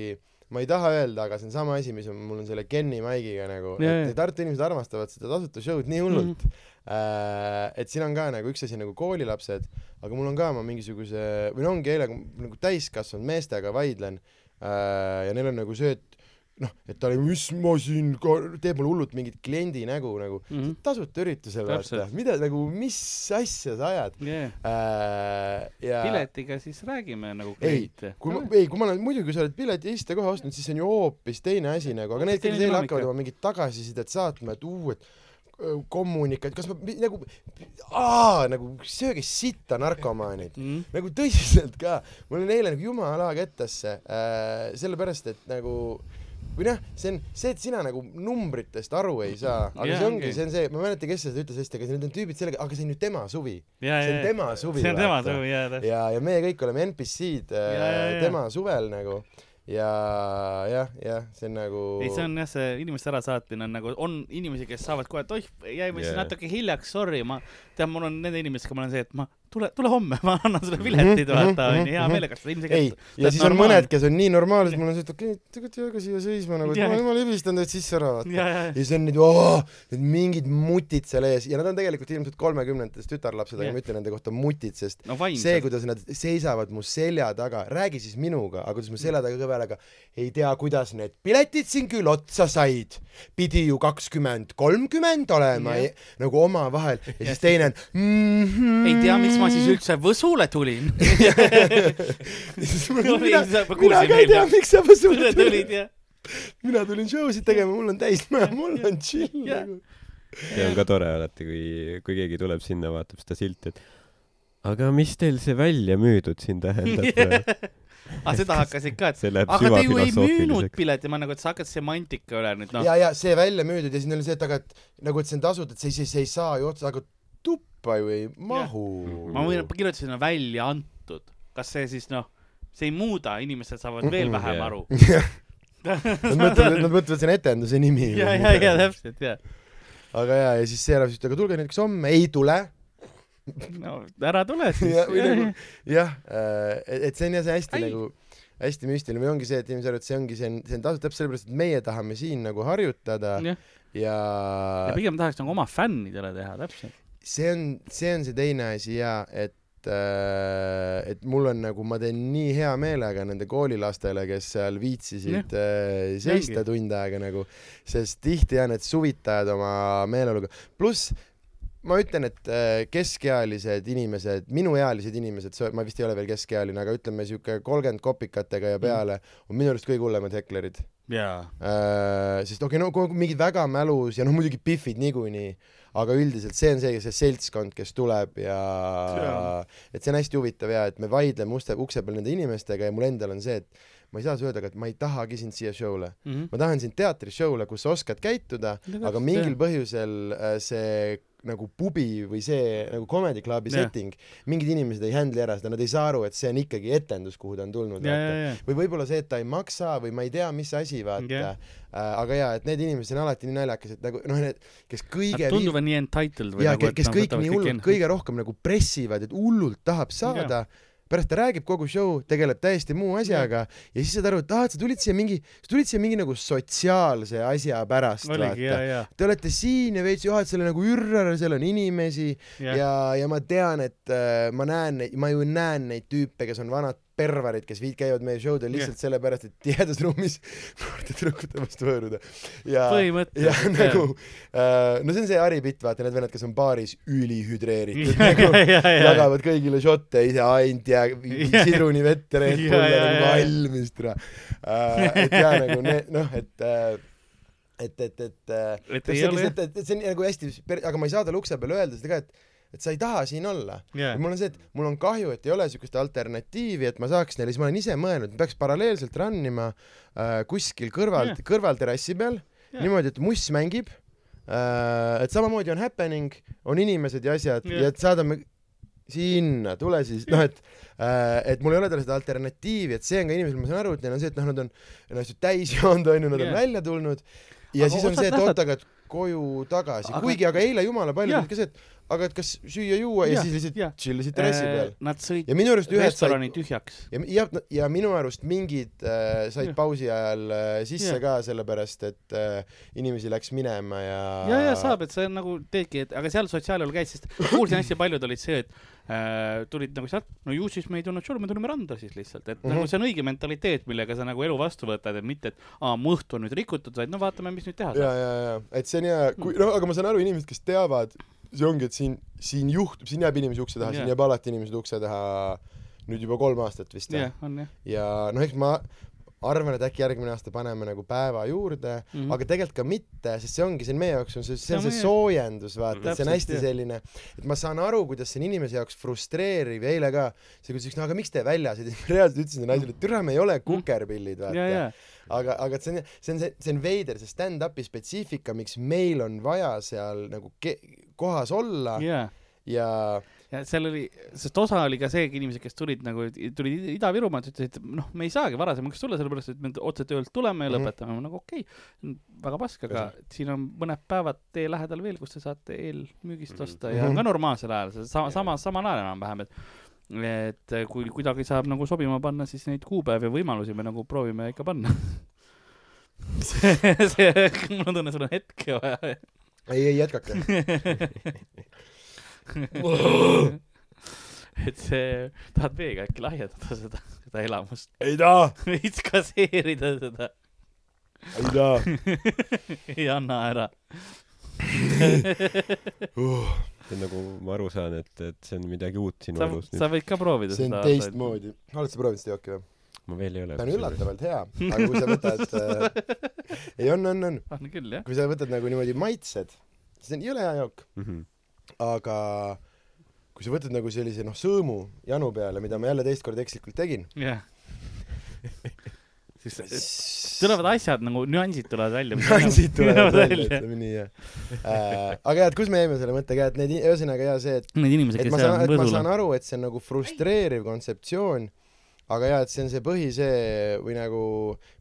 [SPEAKER 2] ma ei taha öelda , aga see on sama asi , mis on mul on selle Kenny Maigiga nagu ,
[SPEAKER 3] Jaa, Mhm.
[SPEAKER 2] et
[SPEAKER 3] jaa.
[SPEAKER 2] Tartu inimesed armastavad seda tasuta show'd nii hullult mm . -hmm. Äh, et siin on ka nagu üks asi nagu koolilapsed , aga mul on ka , ma mingisuguse , või no ongi eile , kui ma nagu täiskasvanud meestega vaidlen äh, ja neil on nagu see , et noh , et ta oli , mis ma siin , teeb mulle hullult mingit kliendi nägu nagu , tasuta üritusel vaata
[SPEAKER 3] Mhm. Täpselt. ,
[SPEAKER 2] mida nagu , mis asja sa ajad
[SPEAKER 3] jah ,
[SPEAKER 2] äh, . ja
[SPEAKER 3] piletiga siis räägime nagu
[SPEAKER 2] ei
[SPEAKER 3] kliente ,.
[SPEAKER 2] kui ma , ei , kui ma olen , muidugi sa oled pileti teiste koha ostnud , siis see on ju hoopis teine asi nagu , aga need ,
[SPEAKER 3] Hoopis teine
[SPEAKER 2] kes teile
[SPEAKER 3] dünaamika.
[SPEAKER 2] hakkavad oma mingit tagasisidet saatma , et uu , et öö, kommunikaat , kas ma mi- nagu , aa , nagu sööge sitta , narkomaanid .
[SPEAKER 3] Mm.
[SPEAKER 2] nagu tõsiselt ka , mul on eile nagu jumala kettasse äh, , sellepärast et nagu või noh , see on see , et sina nagu numbritest aru ei saa , aga
[SPEAKER 3] Jaa,
[SPEAKER 2] see ongi
[SPEAKER 3] ongi. ,
[SPEAKER 2] see on see , ma ei mäleta , kes seda ütles hästi , aga need on tüübid sellega , aga see on ju tema suvi .
[SPEAKER 3] ja ,
[SPEAKER 2] see on
[SPEAKER 3] ja ,
[SPEAKER 2] tema suvi .
[SPEAKER 3] see on tema suvi , ja , täpselt .
[SPEAKER 2] ja , ja meie kõik oleme NPC-d äh,
[SPEAKER 3] Ja, ja, ja.
[SPEAKER 2] tema suvel nagu ja jah , jah , see on nagu
[SPEAKER 3] ei , see on jah , see inimeste ärasaatmine on nagu , on inimesi , kes saavad kohe , et oih , jäime yeah. siis
[SPEAKER 4] Jaa.
[SPEAKER 3] natuke hiljaks , sorry , ma tean , mul on nende inimestega , ma olen see , et ma tule , tule homme , ma annan sulle piletid ,
[SPEAKER 2] Mhm,
[SPEAKER 3] vaata , onju , hea meelega , seda ilmselgelt
[SPEAKER 2] ei , ja siis on mõned , kes on nii normaalsed , mul on see , et okei okay, , tegelikult ei hakka siia seisma nagu ,
[SPEAKER 3] Jah.
[SPEAKER 2] et ma ma libistan teid sisse ära vaata .
[SPEAKER 3] ja , ja ,
[SPEAKER 2] ja siis on need , need mingid mutid seal ees ja nad on tegelikult ilmselt kolmekümnendates tütarlapsed , aga
[SPEAKER 3] Jah.
[SPEAKER 2] ma ütlen nende kohta mutid , sest
[SPEAKER 3] no
[SPEAKER 2] see ,
[SPEAKER 3] vaimselt .
[SPEAKER 2] kuidas nad seisavad mu selja taga , räägi siis minuga , aga kuidas mu selja taga kõva häälega , ei tea , kuidas need piletid siin küll otsa said , pidi ju kakskümmend , kolmkümmend olema
[SPEAKER 3] Jah.
[SPEAKER 2] yeah. nagu omavahel ja siis teine on mm -hmm.
[SPEAKER 3] ei tea , miks ma siis üldse Võsule tulin .
[SPEAKER 2] mina, mina,
[SPEAKER 3] Oli, sa- ma
[SPEAKER 2] mina
[SPEAKER 3] kuulsin
[SPEAKER 2] ka ei tea
[SPEAKER 3] eile. ,
[SPEAKER 2] miks sa võsule
[SPEAKER 3] Võsule
[SPEAKER 2] tulid
[SPEAKER 3] tulid , ja .
[SPEAKER 2] mina tulin show sid tegema , mul on täismaja , mul on chill
[SPEAKER 3] Jah.
[SPEAKER 2] nagu
[SPEAKER 4] see on ka tore alati , kui , kui keegi tuleb sinna , vaatab seda silti , et aga mis teil see välja müüdud siin tähendab ?
[SPEAKER 3] aga Ah, seda hakkasid ka , et
[SPEAKER 4] see läheb
[SPEAKER 3] aga te ju ei müünud
[SPEAKER 4] süvafilosoofiliseks .
[SPEAKER 3] pileti , ma nagu , et sa hakkad semantika üle nüüd , noh .
[SPEAKER 2] ja , ja see välja müüdud ja siis neil on see , et aga et nagu , et see on tasuta , et see siis ei saa ju otsa , aga tuppa ju ei mahu
[SPEAKER 3] ma võin , kirjutasin no, välja antud . kas see siis , noh , see ei muuda , inimesed saavad veel vähem
[SPEAKER 4] Jaa.
[SPEAKER 3] aru .
[SPEAKER 2] Nad mõtlevad , nad mõtlevad , see on etenduse nimi .
[SPEAKER 3] ja , ja , ja täpselt , ja .
[SPEAKER 2] aga jaa , ja siis see ära siis , aga tulge näiteks homme , ei tule .
[SPEAKER 3] no ära tule
[SPEAKER 2] ja , või nagu
[SPEAKER 3] siis .
[SPEAKER 2] jah , et see on jah , see hästi
[SPEAKER 3] Ai.
[SPEAKER 2] Ai. nagu , hästi müstiline või ongi see , et inimesed arvavad , et see ongi , see on , see on tasuta täpselt sellepärast , et meie tahame siin nagu harjutada ja,
[SPEAKER 3] jah ,
[SPEAKER 2] ja
[SPEAKER 3] pigem tahaks nagu oma fännidele teha , täpselt .
[SPEAKER 2] see on , see on see teine asi jaa , et äh, et mul on nagu , ma teen nii hea meelega nende koolilastele , kes seal viitsisid äh, seista tund aega nagu , sest tihti jah , need suvitajad oma meeleoluga , pluss ma ütlen , et äh, keskealised inimesed , minuealised inimesed , ma vist ei ole veel keskealine , aga ütleme sihuke kolmkümmend kopikatega ja peale on minu arust kõige hullemad heklerid
[SPEAKER 3] jaa .
[SPEAKER 2] Äh, sest okei okay, , no kui on mingid väga mälus ja noh , muidugi Biffid niikuinii , aga üldiselt see on see , see seltskond , kes tuleb ja
[SPEAKER 3] Jaa.
[SPEAKER 2] et see on hästi huvitav ja et me vaidleme uste , ukse peal nende inimestega ja mul endal on see , et ma ei saa sulle öelda , aga et ma ei tahagi sind siia show'le .
[SPEAKER 3] Mhm.
[SPEAKER 2] ma tahan sind teatrishow'le , kus sa oskad käituda , aga mingil põhjusel äh, see nagu pubi või see nagu comedy club'i
[SPEAKER 3] Jah.
[SPEAKER 2] setting , mingid inimesed ei handle'i ära seda , nad ei saa aru , et see on ikkagi etendus , kuhu ta on tulnud .
[SPEAKER 3] ja , ja , ja ,
[SPEAKER 2] või võib-olla see , et ta ei maksa või ma ei tea , mis asi , vaata
[SPEAKER 3] Jah.
[SPEAKER 2] yeah. . aga jaa , et need inimesed on alati nii naljakad , et nagu noh , need , kes
[SPEAKER 3] nad
[SPEAKER 2] kõige
[SPEAKER 3] tunduvad nii entitled või
[SPEAKER 2] ja
[SPEAKER 3] nagu ,
[SPEAKER 2] kes kõik nii hullult , kõige rohkem nagu pressivad , et hullult tahab saada yeah. pärast ta räägib kogu show , tegeleb täiesti muu asjaga yeah. ja siis saad aru , et aa , et sa tulid siia mingi , sa tulid siia mingi nagu sotsiaalse asja pärast ,
[SPEAKER 3] oligi , ja ,
[SPEAKER 2] vaata .
[SPEAKER 3] ja ,
[SPEAKER 2] Te olete siin ja veits juhad selle nagu ürrar , seal on inimesi ja ,
[SPEAKER 3] ja ,
[SPEAKER 2] ja, ja ma tean , et äh, ma näen , ma ju näen neid tüüpe , kes on vanad perverid , kes viid , käivad meie show del lihtsalt sellepärast , et tihedas ruumis noorte tüdrukute vastu hõõruda . ja , ja
[SPEAKER 3] põhimõtteliselt .
[SPEAKER 2] nagu , no see on see haripitt , vaata need vennad , kes on baaris ülihüdreeritud
[SPEAKER 3] ja ,
[SPEAKER 2] nagu,
[SPEAKER 3] ja , ja , ja ,
[SPEAKER 2] jagavad kõigile šotte ise ainult ja
[SPEAKER 3] Ja.
[SPEAKER 2] sidruni vett ja Red
[SPEAKER 3] Ja,
[SPEAKER 2] Bulli
[SPEAKER 3] ja,
[SPEAKER 2] nagu
[SPEAKER 3] ja.
[SPEAKER 2] valmis täna . et ja nagu need noh , et äh, et , et , et äh,
[SPEAKER 3] et ei
[SPEAKER 2] see
[SPEAKER 3] ole jah .
[SPEAKER 2] lihtsalt , et et see on nagu hästi , aga ma ei saa talle ukse peal öelda seda ka , et , et sa ei taha siin olla .
[SPEAKER 3] ja ,
[SPEAKER 2] mul on see , et mul on kahju , et ei ole niisugust alternatiivi , et ma saaks neile , siis ma olen ise mõelnud , peaks paralleelselt run ima äh, kuskil kõrval
[SPEAKER 3] Jah.
[SPEAKER 2] yeah. , kõrvalterrassi peal
[SPEAKER 3] Jah.
[SPEAKER 2] yeah. , niimoodi , et muss mängib äh, , et samamoodi on happening , on inimesed ja asjad
[SPEAKER 3] Jah.
[SPEAKER 2] yeah. ja et saadame sinna , tule siis , noh et äh, , et mul ei ole talle seda alternatiivi , et see on ka inimesel , ma saan aru , et neil on see , et noh , nad on ennast ju täis joonud , on ju , nad yeah.
[SPEAKER 3] Jah.
[SPEAKER 2] on välja tulnud ja
[SPEAKER 3] Aga
[SPEAKER 2] aga siis on
[SPEAKER 3] osad
[SPEAKER 2] see , et
[SPEAKER 3] lähevad-
[SPEAKER 2] oot , aga et koju tagasi
[SPEAKER 3] Aga-
[SPEAKER 2] aga... , kuigi , aga eile jumala palju
[SPEAKER 3] Jah.
[SPEAKER 2] olid ka see , et aga et kas süüa-juua ja
[SPEAKER 3] Jah,
[SPEAKER 2] siis
[SPEAKER 3] jah. Äh,
[SPEAKER 2] lihtsalt tšillisid terrassi peal .
[SPEAKER 3] Nad sõid
[SPEAKER 2] ja minu arust ühed
[SPEAKER 3] restorani
[SPEAKER 2] said
[SPEAKER 3] tühjaks .
[SPEAKER 2] ja , ja , ja minu arust mingid äh, said
[SPEAKER 3] Jah.
[SPEAKER 2] pausi ajal äh, sisse
[SPEAKER 3] Jah.
[SPEAKER 2] ka sellepärast , et äh, inimesi läks minema ja .
[SPEAKER 3] ja , ja saab , et sa nagu teedki , et aga seal sotsiaalajal käis , sest kuulsin hästi paljud olid see , et äh, tulid nagu sealt , no ju siis me ei tulnud sulle , me tulime randa siis lihtsalt , et mm -hmm. nagu see on õige mentaliteet , millega sa nagu elu vastu võtad , et mitte , et aa , mu õhtu on nüüd rikutud , vaid no vaatame , mis nüüd teha saab .
[SPEAKER 2] ja , ja , ja , et see on hea , kui
[SPEAKER 3] Hmm.
[SPEAKER 2] noh , aga ma saan aru , inimesed , kes teavad , see ongi , et siin , siin juhtub , siin jääb inimesi ukse taha , siin
[SPEAKER 3] Jah.
[SPEAKER 2] jääb alati inimesed ukse taha nüüd juba kolm aastat vist
[SPEAKER 3] jah , on jah .
[SPEAKER 2] ja noh , eks ma arvan , et äkki järgmine aasta paneme nagu päeva juurde mm ,
[SPEAKER 3] Mhm.
[SPEAKER 2] -hmm. aga tegelikult ka mitte , sest see ongi siin meie jaoks on see , see on
[SPEAKER 3] Sama
[SPEAKER 2] see
[SPEAKER 3] jah.
[SPEAKER 2] soojendus , vaata , et see on
[SPEAKER 3] Täpselt,
[SPEAKER 2] hästi
[SPEAKER 3] jah.
[SPEAKER 2] selline , et ma saan aru , kuidas see on inimese jaoks frustreeriv ja eile ka , see küsis , no aga miks te väljas olite , ma reaalselt ütlesin naisele , et türa , me ei ole kukerpillid ,
[SPEAKER 3] Mhm. ja ,
[SPEAKER 2] vaata
[SPEAKER 3] ja .
[SPEAKER 2] aga , aga et see on , see on see , see on veider , see stand-up'i spetsiifika , miks meil on vaja seal nagu ke- , kohas olla yeah.
[SPEAKER 3] ja ,
[SPEAKER 2] ja
[SPEAKER 3] ja seal oli , sest osa oli ka see , inimesed , kes tulid nagu , tulid Ida- Ida-Virumaalt , ütlesid , et noh , me ei saagi varasemaks tulla , sellepärast et me otse töölt tuleme ja
[SPEAKER 2] Mhm.
[SPEAKER 3] lõpetame , nagu okei okay, , väga pask , aga siin on mõned päevad tee lähedal veel , kus te saate eelmüügist
[SPEAKER 4] Mhm.
[SPEAKER 3] osta ja
[SPEAKER 2] Mhm.
[SPEAKER 3] ka normaalsel ajal , see sama , sama , samal ajal enam-vähem , et et kui kuidagi saab nagu sobima panna , siis neid kuupäevi ja võimalusi me nagu proovime ikka panna . see , see , mul on tunne , sul on hetke vaja
[SPEAKER 2] ei , ei jätkake .
[SPEAKER 3] et see , tahad veega äkki lahjendada seda , seda elamust ,
[SPEAKER 2] ei taha ,
[SPEAKER 3] veits kasseerida seda ,
[SPEAKER 2] ei taha
[SPEAKER 3] ei anna ära .
[SPEAKER 2] uh, .
[SPEAKER 4] see on nagu ma aru saan , et , et see on midagi uut sinu
[SPEAKER 3] sa ,
[SPEAKER 4] elus
[SPEAKER 3] sa
[SPEAKER 4] nüüd .
[SPEAKER 3] võid ka proovida
[SPEAKER 2] see on
[SPEAKER 3] seda .
[SPEAKER 2] teistmoodi . oled sa proovinud seda jooki või ?
[SPEAKER 4] ma veel ei ole .
[SPEAKER 2] ta on üllatavalt hea , aga kui sa võtad äh, , ei on , on , on ,
[SPEAKER 3] on Ah, küll jah ,
[SPEAKER 2] kui sa võtad nagu niimoodi maitsed , siis see on jõle hea jook ,
[SPEAKER 4] Mhm.
[SPEAKER 2] aga kui sa võtad nagu sellise noh , sõõmu janu peale , mida ma jälle teist korda ekslikult tegin ,
[SPEAKER 3] jah . siis
[SPEAKER 2] tulevad
[SPEAKER 3] tulevad asjad nagu nüansid tulevad välja .
[SPEAKER 2] nüansid tulevad välja ,. ütleme nii jah äh, . aga jah , et kus me jäime selle mõttega , et need , ühesõnaga jaa see , et
[SPEAKER 3] Need inimesed ,
[SPEAKER 2] et
[SPEAKER 3] kes
[SPEAKER 2] ma
[SPEAKER 3] seal
[SPEAKER 2] saan ,
[SPEAKER 3] on
[SPEAKER 2] et ma
[SPEAKER 3] võsul
[SPEAKER 2] saan , aru , et see on nagu frustreeriv kontseptsioon , aga jaa , et see on see põhi see või nagu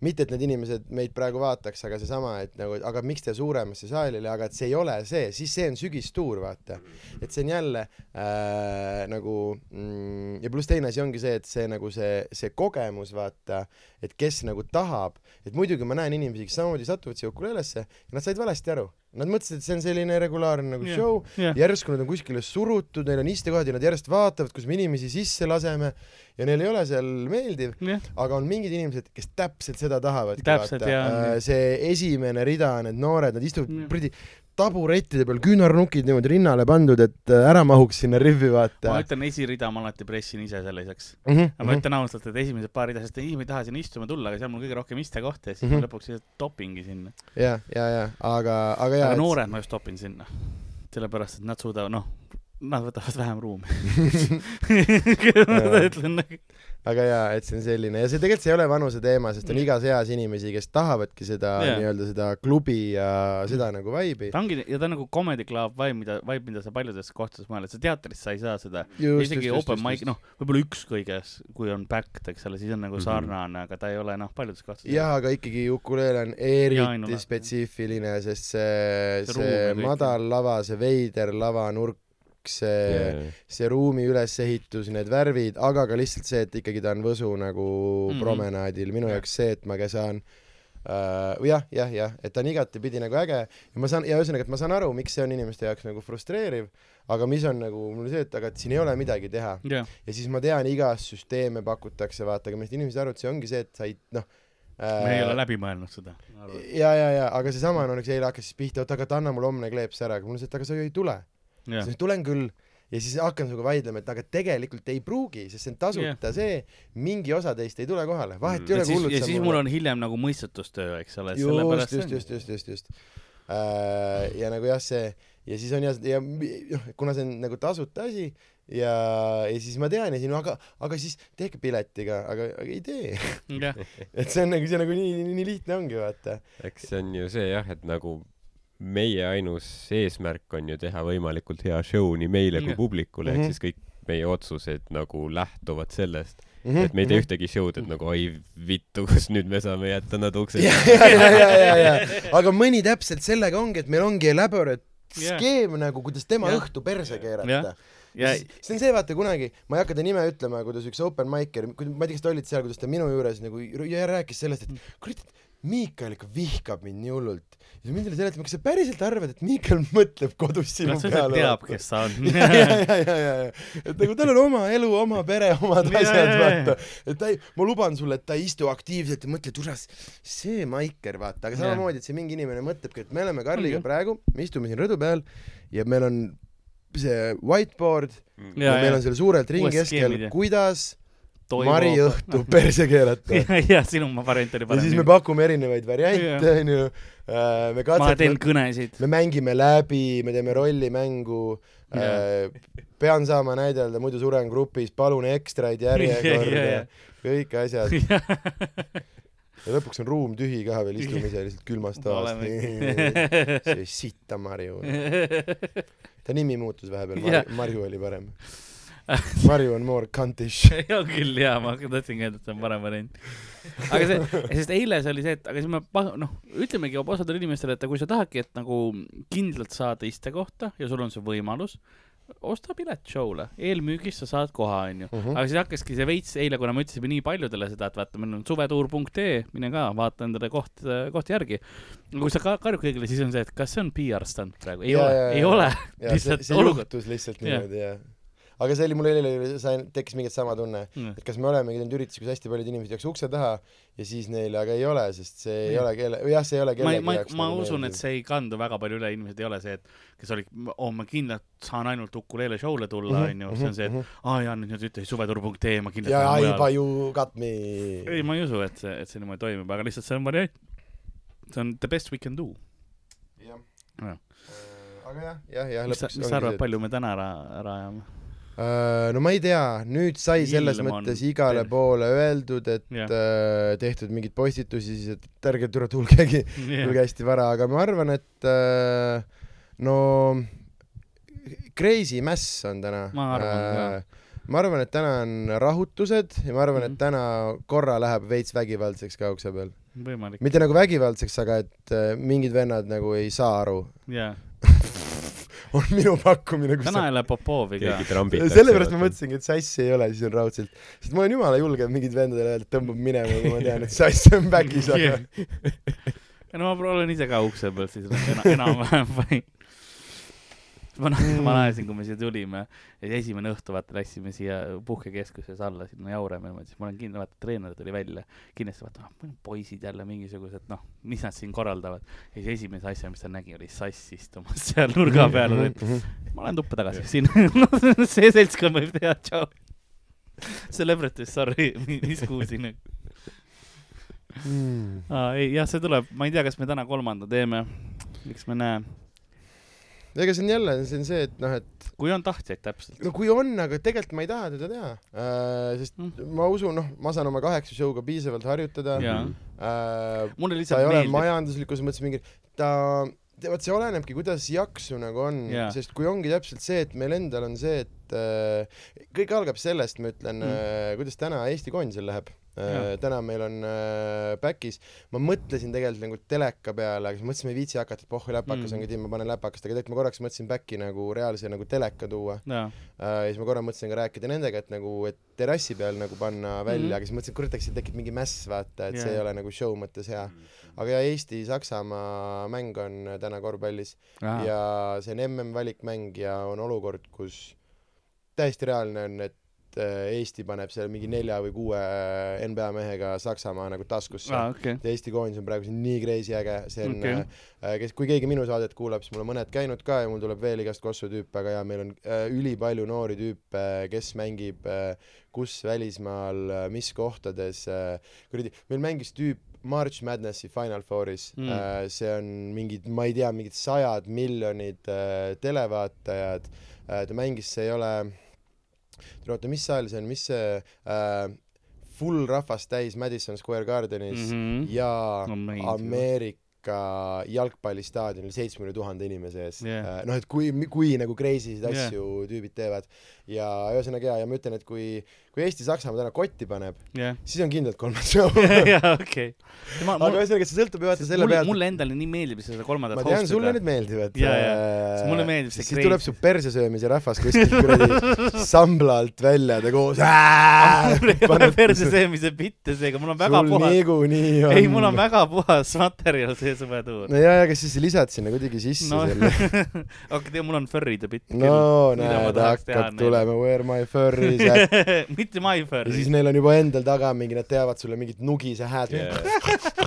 [SPEAKER 2] mitte , et need inimesed meid praegu vaataks , aga seesama , et nagu , aga miks te suuremasse saalile , aga et see ei ole see , siis see on sügistuur , vaata . et see on jälle äh, nagu mm, ja pluss teine asi ongi see , et see nagu see , see kogemus , vaata , et kes nagu tahab , et muidugi ma näen inimesi , kes samamoodi satuvad siia ukulelesse ja nad said valesti aru . Nad mõtlesid , et see on selline regulaarne nagu
[SPEAKER 3] Jah.
[SPEAKER 2] show ,
[SPEAKER 3] jah ,
[SPEAKER 2] järsku nad on kuskile surutud , neil on istekohad ja nad järjest vaatavad , kus me inimesi sisse laseme ja neil ei ole seal meeldiv ,
[SPEAKER 3] jah ,
[SPEAKER 2] aga on mingid inimesed , kes täpselt seda tahavad .
[SPEAKER 3] Täpselt, jaa.
[SPEAKER 2] see esimene rida , need noored , nad
[SPEAKER 3] Jah.
[SPEAKER 2] istuvad prüdi taburettide peal , küünarnukid niimoodi rinnale pandud , et äh, ära mahuks sinna rivvi ,
[SPEAKER 3] ma
[SPEAKER 2] vaata . Mhm,
[SPEAKER 3] ütlen esirida , ma alati pressin ise selliseks aga ma
[SPEAKER 2] ma
[SPEAKER 3] ütlen ausalt , et esimesed paar rida , sest ei , ma ei taha sinna istuma tulla , aga seal on mul kõige rohkem istekohti ja siis ma
[SPEAKER 2] Mhm.
[SPEAKER 3] lõpuks lihtsalt topingi sinna .
[SPEAKER 2] ja , ja , ja , aga , aga
[SPEAKER 3] aga
[SPEAKER 2] jaa .
[SPEAKER 3] noored ma just topin sinna , sellepärast et nad suudavad , noh , nad võtavad vähem ruumi . ma ütlen , nagu-
[SPEAKER 2] aga jaa , et see on selline ja see tegelikult see ei ole vanuse teema , sest on
[SPEAKER 3] Mm.
[SPEAKER 2] igas eas inimesi , kes tahavadki seda
[SPEAKER 3] Jaa.
[SPEAKER 2] nii-öelda seda klubi ja seda nagu vibe'i .
[SPEAKER 3] ta ongi ja ta on nagu comedy club vibe , mida , vibe , mida sa paljudes kohtades mõeled , sa teatris sa ei saa seda . isegi open mic , noh , võib-olla üks kõiges , kui on backed , eks ole , siis on nagu
[SPEAKER 4] Mhm.
[SPEAKER 3] sarnane , aga ta ei ole , noh , paljudes kohtades .
[SPEAKER 2] jah , aga ikkagi ukuleele on
[SPEAKER 3] Ja ainulaadne.
[SPEAKER 2] eriti spetsiifiline , sest see ,
[SPEAKER 3] See ruum
[SPEAKER 2] see
[SPEAKER 3] ja kõik,
[SPEAKER 2] madal lava , see veider lavanurk , see yeah. , see ruumi ülesehitus , need värvid , aga ka lihtsalt see , et ikkagi ta on Võsu nagu mm
[SPEAKER 3] Mhm.
[SPEAKER 2] -hmm. promenaadil , minu
[SPEAKER 3] Jah.
[SPEAKER 2] jaoks see , et ma ka saan Uh, jah , jah , jah , et ta on igatepidi nagu äge ja ma saan ja ühesõnaga , et ma saan aru , miks see on inimeste jaoks nagu frustreeriv , aga mis on nagu mul see , et aga et siin ei ole midagi teha ,
[SPEAKER 3] jah ,
[SPEAKER 2] ja siis ma tean , igas süsteeme pakutakse , vaata , aga millest inimesed arvavad , see ongi see , et sa ei noh äh,
[SPEAKER 3] me ei ole läbi mõelnud seda .
[SPEAKER 2] ja , ja , ja , aga seesama on näiteks eile hakkas siis pihta , oota , aga ta anna mulle homne kleeps ära , aga mul on see , et aga sa ju ei tule .
[SPEAKER 3] jah ,
[SPEAKER 2] siis tulen küll ja siis hakkan sinuga vaidlema , et aga tegelikult ei pruugi , sest see on tasuta see , mingi osa teist ei tule kohale , vahet
[SPEAKER 4] Mm.
[SPEAKER 2] ei
[SPEAKER 3] ja
[SPEAKER 2] ole , kui
[SPEAKER 3] siis ,
[SPEAKER 2] hullult
[SPEAKER 3] ja siis mul on hiljem nagu mõistutustöö , eks ole ,
[SPEAKER 2] just ,
[SPEAKER 3] sellepärast
[SPEAKER 2] just , just , just , just , just . ja nagu jah , see ja siis on jah , ja mi- noh , kuna see on nagu tasuta asi ja , ja siis ma tean ja siis no aga , aga siis tehke piletiga , aga , aga ei tee .
[SPEAKER 3] jah ,
[SPEAKER 2] et see on nagu , see nagu nii, nii , nii lihtne ongi vaata .
[SPEAKER 4] eks see on ju see jah , et nagu meie ainus eesmärk on ju teha võimalikult hea show nii meile kui
[SPEAKER 3] Jah.
[SPEAKER 4] publikule ,
[SPEAKER 2] Mhm.
[SPEAKER 4] ehk siis kõik meie otsused nagu lähtuvad sellest ,
[SPEAKER 2] Mhm.
[SPEAKER 4] Mhm. et me ei tee ühtegi show'd , et nagu oi vittu , kas nüüd me saame jätta nad ukse
[SPEAKER 2] ja , ja , ja , ja , ja , aga mõni täpselt sellega ongi , et meil ongi elaborate
[SPEAKER 3] Jah.
[SPEAKER 2] skeem nagu , kuidas tema
[SPEAKER 3] Jah.
[SPEAKER 2] õhtu perse
[SPEAKER 3] Jah.
[SPEAKER 2] keerata .
[SPEAKER 3] ja
[SPEAKER 2] see see on see , vaata kunagi , ma ei hakka ta nime ütlema , kuidas üks open micer , ma ei tea , kas te olite seal , kuidas ta minu juures nagu r- ja rääkis sellest ,
[SPEAKER 3] Mm.
[SPEAKER 2] et kurat , et Miikal ikka vihkab mind nii hullult . ja siis mind oli seletama , kas sa päriselt arvad , et Miikal mõtleb kodus sinu
[SPEAKER 3] kas sa üldse
[SPEAKER 2] peale ?
[SPEAKER 3] teab , kes ta on ?
[SPEAKER 2] ja , ja , ja , ja , ja , ja , et nagu tal on oma elu , oma pere , omad
[SPEAKER 3] Ja,
[SPEAKER 2] asjad
[SPEAKER 3] ja, , ja.
[SPEAKER 2] vaata . et ta ei , ma luban sulle , et ta ei istu aktiivselt ja mõtle , et kuras , see Maiker , vaata , aga
[SPEAKER 3] Ja. Mm.
[SPEAKER 2] samamoodi , et see mingi inimene mõtlebki , et me oleme
[SPEAKER 3] Ongi.
[SPEAKER 2] Karliga praegu , me istume siin rõdu peal ja meil on see whiteboard ja, ja meil on seal suurelt ringi
[SPEAKER 3] Uued
[SPEAKER 2] keskel
[SPEAKER 3] skeemid, jah. ,
[SPEAKER 2] kuidas Mari õhtu perse keerata .
[SPEAKER 3] ja sinu ma variant oli
[SPEAKER 2] ja siis me
[SPEAKER 3] parem .
[SPEAKER 2] pakume erinevaid variante , onju . me
[SPEAKER 3] ma teen
[SPEAKER 2] katsetame ,
[SPEAKER 3] kõnesid .
[SPEAKER 2] me mängime läbi , me teeme rollimängu .
[SPEAKER 3] Jaa.
[SPEAKER 2] pean saama näidelda , muidu suren grupis , palun ekstraid
[SPEAKER 3] Ja, ja,
[SPEAKER 2] järjekorda
[SPEAKER 3] ja. ,
[SPEAKER 2] kõik asjad . ja lõpuks on ruum tühi ka veel , istume ise lihtsalt külmast toast . see sitta Marju . ta nimi muutus
[SPEAKER 3] Jah.
[SPEAKER 2] vahepeal , Marju oli parem . Marju on more cuntish .
[SPEAKER 3] on küll jaa , ma tahtsingi öelda , et see on parem variant . aga see , sest eile see oli see , et aga siis me pa- noh , ütlemegi osadele inimestele , et kui sa tahadki , et nagu kindlalt saada istekohta ja sul on see võimalus , osta pilet show'le , eelmüügis sa saad koha , onju .
[SPEAKER 2] Mhm.
[SPEAKER 3] aga siis hakkaski see veits eile , kuna me ütlesime nii paljudele seda , et vaata , meil on suvetuur.ee , mine ka , vaata endale koht , kohti järgi . kui sa ka karjud kõigile , siis on see , et kas see on PR stand praegu , ei
[SPEAKER 2] Jaa,
[SPEAKER 3] ole
[SPEAKER 2] jaa, ,
[SPEAKER 3] ei
[SPEAKER 2] jaa.
[SPEAKER 3] ole .
[SPEAKER 2] ja see ,
[SPEAKER 3] Lihtsalt
[SPEAKER 2] see
[SPEAKER 3] olukord.
[SPEAKER 2] juhtus lihtsalt
[SPEAKER 3] Jah.
[SPEAKER 2] niimoodi ja aga see oli mul eile , sain , tekkis mingi sama tunne , et kas me olemegi teinud üritusi , kus hästi paljud inimesed jääks ukse taha ja siis neile aga ei ole , sest see ei
[SPEAKER 3] Jah.
[SPEAKER 2] ole kelle , või jah , see ei ole
[SPEAKER 3] ma ,
[SPEAKER 2] kellegi
[SPEAKER 3] ma ,
[SPEAKER 2] jaoks
[SPEAKER 3] ma
[SPEAKER 2] nagu
[SPEAKER 3] usun , et
[SPEAKER 2] meeldiv.
[SPEAKER 3] see ei kandu väga palju üle , inimesed ei ole see , et kes olid , oo , ma kindlalt saan ainult Ukulele show'le tulla ,
[SPEAKER 2] Mhm,
[SPEAKER 3] onju , see on see , et aa jaa , nüüd nad ütlesid suvetuur.ee , ma kindlalt
[SPEAKER 2] ja
[SPEAKER 3] lähen
[SPEAKER 2] I
[SPEAKER 3] mujale.
[SPEAKER 2] buy you got me .
[SPEAKER 3] ei , ma ei usu , et see , et see niimoodi toimib , aga lihtsalt see on variant . see on the best we can do .
[SPEAKER 2] jah
[SPEAKER 3] Jah. ,
[SPEAKER 2] aga jah , jah , jah ,
[SPEAKER 3] mis sa ,
[SPEAKER 2] lõpuks
[SPEAKER 3] mis sa arvad ,? palju me täna ära , ära ajame ?
[SPEAKER 2] äh, no ma ei tea , nüüd sai selles
[SPEAKER 3] Ilm on
[SPEAKER 2] mõttes igale
[SPEAKER 3] tervis.
[SPEAKER 2] poole öeldud , et
[SPEAKER 3] Jah.
[SPEAKER 2] äh, tehtud mingeid postitusi , siis et ärge tule tulgegi tulge hästi vara , aga ma arvan , et äh, no crazy mass on täna .
[SPEAKER 3] Ma arvan
[SPEAKER 2] ma arvan , et täna on rahutused ja ma arvan , et
[SPEAKER 3] Mhm.
[SPEAKER 2] täna korra läheb veits vägivaldseks ka ukse peal .
[SPEAKER 3] võimalik ,
[SPEAKER 2] mitte nagu vägivaldseks , aga et äh, mingid vennad nagu ei saa aru ,
[SPEAKER 3] jaa .
[SPEAKER 2] on minu pakkumine , kus
[SPEAKER 3] täna
[SPEAKER 2] sa
[SPEAKER 3] ei ole Popovi ka
[SPEAKER 4] keegi . trambitakse .
[SPEAKER 2] sellepärast ma . mõtlesingi , et sassi ei ole , siis on raudselt , sest ma olen jumala julge mingid vendadele öelda , et tõmbab minema , kui ma tean , et sass on back'is , aga
[SPEAKER 3] ei no ma pro- olen ise ka ukse peal siis nagu ena- enam-vähem vaid . ma naersin , ma naersin , kui me siia tulime , esimene õhtu vaata läksime siia puhkekeskuses alla sinna Jaureme , siis ma olen kindel , vaata treener tuli välja , kindlasti vaata , ah poisid jälle mingisugused noh , mis nad siin korraldavad . ja siis esimese asja , mis ta nägi , oli sass istumas seal nurga peal , et ma lähen tuppa tagasi , siin see seltskond võib teha , tšau . Celebrity , sorry , mis kuu siin on .
[SPEAKER 2] Mm.
[SPEAKER 3] aa , ei jah , see tuleb , ma ei tea , kas me täna kolmanda teeme , eks me näe ,
[SPEAKER 2] ega see on jälle , see on see , et noh , et
[SPEAKER 3] kui on tahtjaid täpselt .
[SPEAKER 2] no kui on , aga tegelikult ma ei taha teda teha äh, , sest
[SPEAKER 3] Mm.
[SPEAKER 2] mm. ma usun , noh , ma saan oma kaheksa show'ga piisavalt harjutada
[SPEAKER 3] jaa ,
[SPEAKER 2] äh, .
[SPEAKER 3] mulle
[SPEAKER 2] ta ei
[SPEAKER 3] lihtsalt
[SPEAKER 2] ole
[SPEAKER 3] meeldib ,
[SPEAKER 2] majanduslikus mõttes mingi , ta , vot see olenebki , kuidas jaksu nagu on
[SPEAKER 3] Jaa.
[SPEAKER 2] yeah. , sest kui ongi täpselt see , et meil endal on see , et äh, kõik algab sellest , ma ütlen
[SPEAKER 3] Mm.
[SPEAKER 2] mm. , äh, kuidas täna Eesti koondisel läheb . Äh,
[SPEAKER 3] Jaa.
[SPEAKER 2] täna meil on äh, back'is , ma mõtlesin tegelikult nagu teleka peale , aga siis mõtlesin , ma ei viitsi hakata , et pohhu läpakas
[SPEAKER 3] Mm.
[SPEAKER 2] mm. on ka tiim , ma panen läpakast , aga tegelikult ma korraks mõtlesin back'i nagu reaalse nagu teleka tuua .
[SPEAKER 3] jaa ,
[SPEAKER 2] Äh, ja siis ma korra mõtlesin ka rääkida nendega , et nagu , et terrassi peal nagu panna välja mm ,
[SPEAKER 3] Mhm.
[SPEAKER 2] -hmm. aga siis mõtlesin , et kurat , eks seal tekib mingi mäss , vaata , et yeah. see ei
[SPEAKER 3] Jaa.
[SPEAKER 2] ole nagu show mõttes hea . aga ja Eesti-Saksamaa mäng on täna korvpallis ah. ja see on MM-valikmäng ja on olukord , kus täiesti reaalne on , et äh, Eesti paneb seal mingi nelja või kuue NBA mehega Saksamaa nagu taskusse
[SPEAKER 3] aa , okei ,
[SPEAKER 2] et Eesti koondis on praegu siin nii crazy äge , see on
[SPEAKER 3] Okei.
[SPEAKER 2] okay. , kes , kui keegi minu saadet kuulab , siis mul on mõned käinud ka ja mul tuleb veel igast kossu tüüpe , aga jaa , meil on äh, ülipalju noori tüüpe , kes mängib äh, kus välismaal , mis kohtades äh, , kuradi , meil mängis tüüp March Madnessi Final Fouris
[SPEAKER 3] Mm.
[SPEAKER 2] mm. , äh, see on mingid , ma ei tea , mingid sajad miljonid äh, televaatajad äh, , ta mängis , see ei ole , oota , mis saal see on , mis see äh, full rahvast täis Madison Square Gardenis mm , -hmm
[SPEAKER 3] Mhm.
[SPEAKER 2] ja
[SPEAKER 3] Amazing.
[SPEAKER 2] Ameerika Ameerika jalgpallistaadionil seitsmekümne tuhande inimese ees
[SPEAKER 3] Jah.
[SPEAKER 2] yeah. . noh , et kui , kui nagu crazy sid
[SPEAKER 3] Jah.
[SPEAKER 2] asju yeah. tüübid teevad ja ühesõnaga ja , ja ma ütlen , et kui , kui Eesti-Saksamaa täna kotti paneb ,
[SPEAKER 3] jah .
[SPEAKER 2] siis on kindlalt kolmas show .
[SPEAKER 3] jaa , okei .
[SPEAKER 2] aga ühesõnaga , see sõltub ju vaata selle
[SPEAKER 3] mulle ,
[SPEAKER 2] pealt .
[SPEAKER 3] mulle endale nii meeldib seda kolmandat
[SPEAKER 2] ma tean , sulle need . meeldivad .
[SPEAKER 3] Jaa, jaa. Mulle meeldib see
[SPEAKER 2] siis tuleb
[SPEAKER 3] crazy.
[SPEAKER 2] su persesöömise rahvas kuskilt kuradi sambla alt välja , te koos . sul
[SPEAKER 3] mul ei ole perse söömise bitte seega , mul on väga puhas ,
[SPEAKER 2] niikuinii on .
[SPEAKER 3] ei , mul on väga puhas materjal sees oma tuur .
[SPEAKER 2] no jaa , aga siis sa lisad sinna kuidagi sisse
[SPEAKER 3] no
[SPEAKER 2] no. selle .
[SPEAKER 3] aga tead , mul on furry'de bitt
[SPEAKER 2] no
[SPEAKER 3] mida ma
[SPEAKER 2] näed ,
[SPEAKER 3] tahaks teha nagu-
[SPEAKER 2] hakkab
[SPEAKER 3] neile.
[SPEAKER 2] tulema Where my fur is at
[SPEAKER 3] mitte my
[SPEAKER 2] ja siis
[SPEAKER 3] furry .
[SPEAKER 2] neil on juba endal taga mingi , nad teavad sulle mingit nugise häält yeah.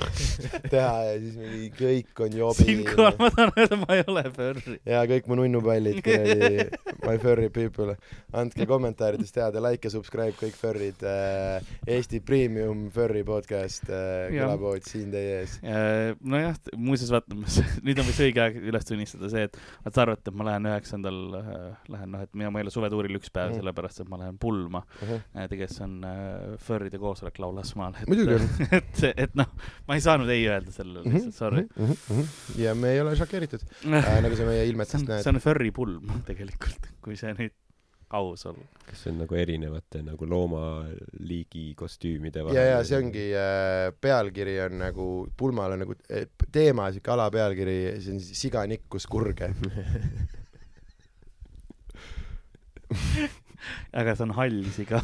[SPEAKER 2] teha ja siis mingi kõik on
[SPEAKER 3] siinkohal
[SPEAKER 2] jobi .
[SPEAKER 3] ma tahan öelda , ma ei ole furry .
[SPEAKER 2] ja kõik mu nunnupallid kuradi , my furry people , andke kommentaarides teada , like ja subscribe kõik furrid äh, . Eesti premium furry podcast äh, ,
[SPEAKER 3] Jah.
[SPEAKER 2] kõlapood siin teie ees .
[SPEAKER 3] Ja, Äh, nojah , muuseas vaata , nüüd on vist õige aeg üles tunnistada see , et vaata sa arvad , et ma lähen üheksandal , lähen noh , et mina , ma ei ole suvetuuril üks päev
[SPEAKER 2] Mm.
[SPEAKER 3] mm. , sellepärast et ma lähen pulma . tegelikult see on äh, Furry'de koosolek Laulasmaal .
[SPEAKER 2] Muidugi on. Mhm,
[SPEAKER 3] et , et, et noh , ma ei saanud ei öelda sellele lihtsalt , sorry .
[SPEAKER 2] ja me ei ole šokeeritud äh, ,
[SPEAKER 3] see
[SPEAKER 2] nagu sa meie
[SPEAKER 3] on ,
[SPEAKER 2] ilmetest
[SPEAKER 3] see
[SPEAKER 2] näed .
[SPEAKER 3] on Furry pulm tegelikult , kui see nüüd aus olla .
[SPEAKER 4] kas see on nagu erinevate nagu loomaliigi kostüümide
[SPEAKER 2] ja , ja see ongi äh, , pealkiri on nagu , pulmal on nagu eh, teema , siuke alapealkiri , see on siga nikkus kurge .
[SPEAKER 3] aga see on hall siga ,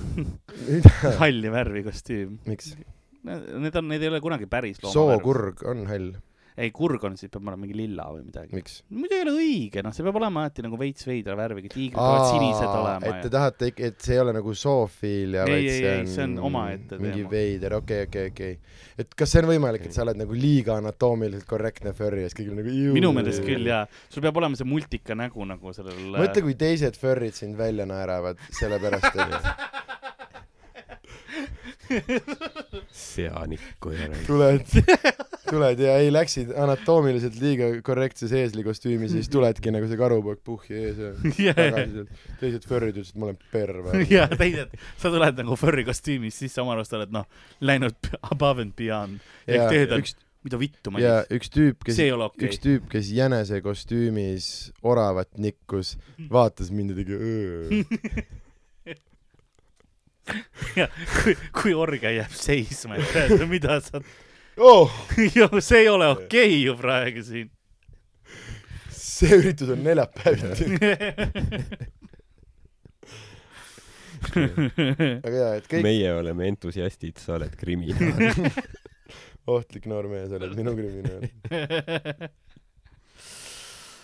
[SPEAKER 3] halli värvi kostüüm .
[SPEAKER 2] miks ?
[SPEAKER 3] Need on , need ei ole kunagi päris loomavärv .
[SPEAKER 2] sookurg on hall ,
[SPEAKER 3] ei , kurg on , siis peab olema mingi lilla või midagi .
[SPEAKER 2] miks ?
[SPEAKER 3] muidu ei ole õige , noh , see peab olema alati nagu veits veidra värviga , tiigrid peavad sinised olema
[SPEAKER 2] et te
[SPEAKER 3] ja
[SPEAKER 2] tahate , et see ei ole nagu soofiilia ,
[SPEAKER 3] Ei,
[SPEAKER 2] vaid
[SPEAKER 3] ei,
[SPEAKER 2] see
[SPEAKER 3] ei,
[SPEAKER 2] on,
[SPEAKER 3] see on omaette
[SPEAKER 2] mingi
[SPEAKER 3] teema.
[SPEAKER 2] veider , okei , okei , okei . et kas see on võimalik , et sa oled nagu liiga anatoomiliselt korrektne furry ja siis kõigil on nagu "Iu".
[SPEAKER 3] minu meelest küll jaa , sul peab olema see multika nägu nagu sellel .
[SPEAKER 2] mõtle , kui teised furry'd sind välja naeravad , sellepärast et
[SPEAKER 4] seaniku järel .
[SPEAKER 2] tuled , tuled ja ei läksid anatoomiliselt liiga korrektses eeslikostüümis ja siis tuledki nagu see karupoeg puhki ees ja tagasi
[SPEAKER 3] kui .
[SPEAKER 2] sealt . teised furry'd ütlesid , et ma olen perve .
[SPEAKER 3] ja teised , äh, sa tuled nagu furry kostüümis sisse , oma arust oled noh , läinud p- above and beyond . ja
[SPEAKER 2] ja
[SPEAKER 3] kõik teised on
[SPEAKER 2] üks ,
[SPEAKER 3] mida vittu ma
[SPEAKER 2] ja
[SPEAKER 3] tegin ,
[SPEAKER 2] üks tüüp , kes
[SPEAKER 3] see ei ole okei
[SPEAKER 2] üks . tüüp , kes jänese kostüümis oravat nikkus , vaatas mind ja tegi öö .
[SPEAKER 3] kui , kui orge jääb seisma , et öelda, mida sa ,
[SPEAKER 2] oh ,
[SPEAKER 3] see ei ole okei okay ju praegu siin .
[SPEAKER 2] see üritus on neljapäeviti . aga jaa , et kõik Me...
[SPEAKER 4] meie oleme entusiastid , sa oled kriminaal .
[SPEAKER 2] ohtlik noormees oled , minu kriminaal .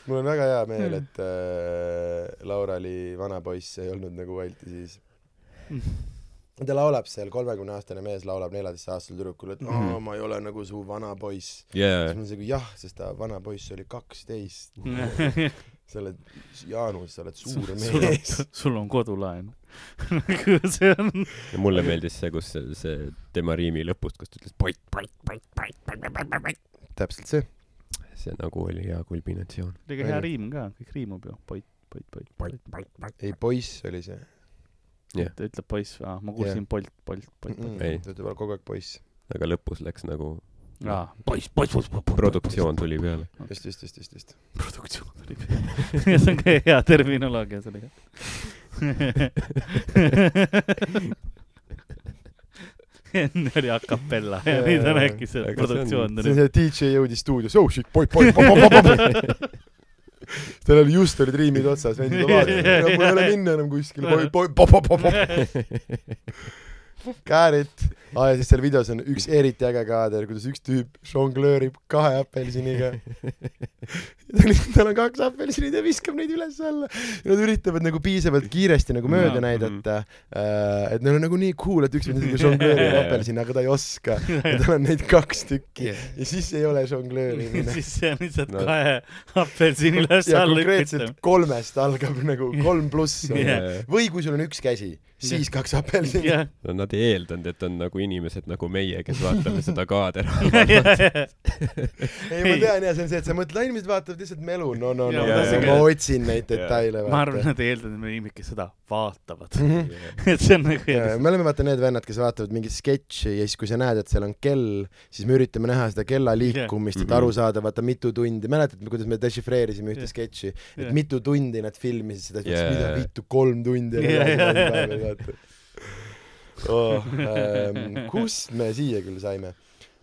[SPEAKER 2] mul on väga hea meel , et äh, Laura oli vana poiss , ei olnud nagu Valti siis . ta laulab seal , kolmekümne aastane mees laulab neljateistaastasele tüdrukule , et aa , ma ei ole nagu su vana poiss . siis
[SPEAKER 4] jaa ,
[SPEAKER 2] ma ütlesin , jah , sest ta vana poiss oli kaksteist .
[SPEAKER 3] Hmm.
[SPEAKER 2] sa oled , Jaanus , sa oled suur mees .
[SPEAKER 3] sul on kodulaen . see on
[SPEAKER 4] ja mulle meeldis see , kus see, see tema riimi lõpust , kus ta ütles poit , poit , poit , poit , poit , poit , poit , poit .
[SPEAKER 2] täpselt see .
[SPEAKER 4] see nagu oli hea kulminatsioon .
[SPEAKER 3] liiga hea riim ka , kõik riimub ju , poit , poit , poit , poit .
[SPEAKER 2] ei , poiss oli see .
[SPEAKER 3] ta ütleb poiss , ma kuulsin polt , polt , polt , polt .
[SPEAKER 4] Ei.
[SPEAKER 2] ta ütleb kogu aeg poiss .
[SPEAKER 4] aga lõpus läks nagu ,
[SPEAKER 3] aa , poiss , poiss , poiss , poiss .
[SPEAKER 4] produktsioon tuli peale .
[SPEAKER 2] just , just , just , just , just .
[SPEAKER 3] produktsioon oli peal . ja see on ka hea terminoloogia sellega . enne oli a capella ja nüüd on äkki see
[SPEAKER 4] Aga see on-
[SPEAKER 3] produktsioon
[SPEAKER 2] see on
[SPEAKER 3] tuli .
[SPEAKER 2] see DJ jõudis stuudiosse , oh shit , poi , poi , poi , poi , poi . tal oli just olid riimid otsas , vendid vaatasid , mul ei ole minna enam kuskile , poi , poi , poi , poi , poi , poi . Got it . aa , ja siis seal videos on üks eriti äge kaader , kuidas üks tüüp žonglöörib kahe apelsiniga . tal on kaks apelsinit ja viskab neid üles-alla . Nad üritavad nagu piisavalt kiiresti nagu mööda
[SPEAKER 3] Jaa,
[SPEAKER 2] no, näidata , et neil on nagu nii cool , et üks vend isegi žongleerib apelsini , aga ta ei oska . ja tal on neid kaks tükki ja siis ei ole žongleerimine .
[SPEAKER 3] siis see on lihtsalt
[SPEAKER 4] No.
[SPEAKER 3] kahe apelsini üles
[SPEAKER 2] ja
[SPEAKER 3] alla
[SPEAKER 2] konkreetselt
[SPEAKER 3] lükatud .
[SPEAKER 2] kolmest algab nagu kolm pluss on ju.
[SPEAKER 3] Jah.
[SPEAKER 2] või kui sul on üks käsi , siis kaks apelsini .
[SPEAKER 3] jah ,
[SPEAKER 4] no nad ei eeldanud , et on nagu inimesed nagu meie , kes vaatame seda kaadera .
[SPEAKER 2] ei , ma tean ja see on see , et sa mõtled , inimesed vaatavad lihtsalt melu , no , no , no
[SPEAKER 3] Jaa, ,
[SPEAKER 4] jaa,
[SPEAKER 2] ma
[SPEAKER 3] jaa.
[SPEAKER 2] otsin neid detaile .
[SPEAKER 3] ma arvan , nad eeldavad , et meie inimesed , kes seda vaatavad .
[SPEAKER 2] et
[SPEAKER 3] et see on nagu
[SPEAKER 2] Jaa,
[SPEAKER 3] järjest .
[SPEAKER 2] me oleme vaata need vennad , kes vaatavad mingit sketši ja siis , kui sa näed , et seal on kell , siis me üritame näha seda kella liikumist , et
[SPEAKER 4] Mhm.
[SPEAKER 2] aru saada , vaata mitu tundi , mäletad , kuidas me dešifreerisime ühte
[SPEAKER 3] Jah.
[SPEAKER 2] sketši , et
[SPEAKER 3] Jah.
[SPEAKER 2] mitu tundi nad filmisid seda , siis
[SPEAKER 4] Jaa,
[SPEAKER 2] mida
[SPEAKER 4] jaa.
[SPEAKER 2] vittu , kolm tundi oli
[SPEAKER 3] Jaa, jaa.
[SPEAKER 2] yeah. , vaata . Oh, ähm, kust me siia küll saime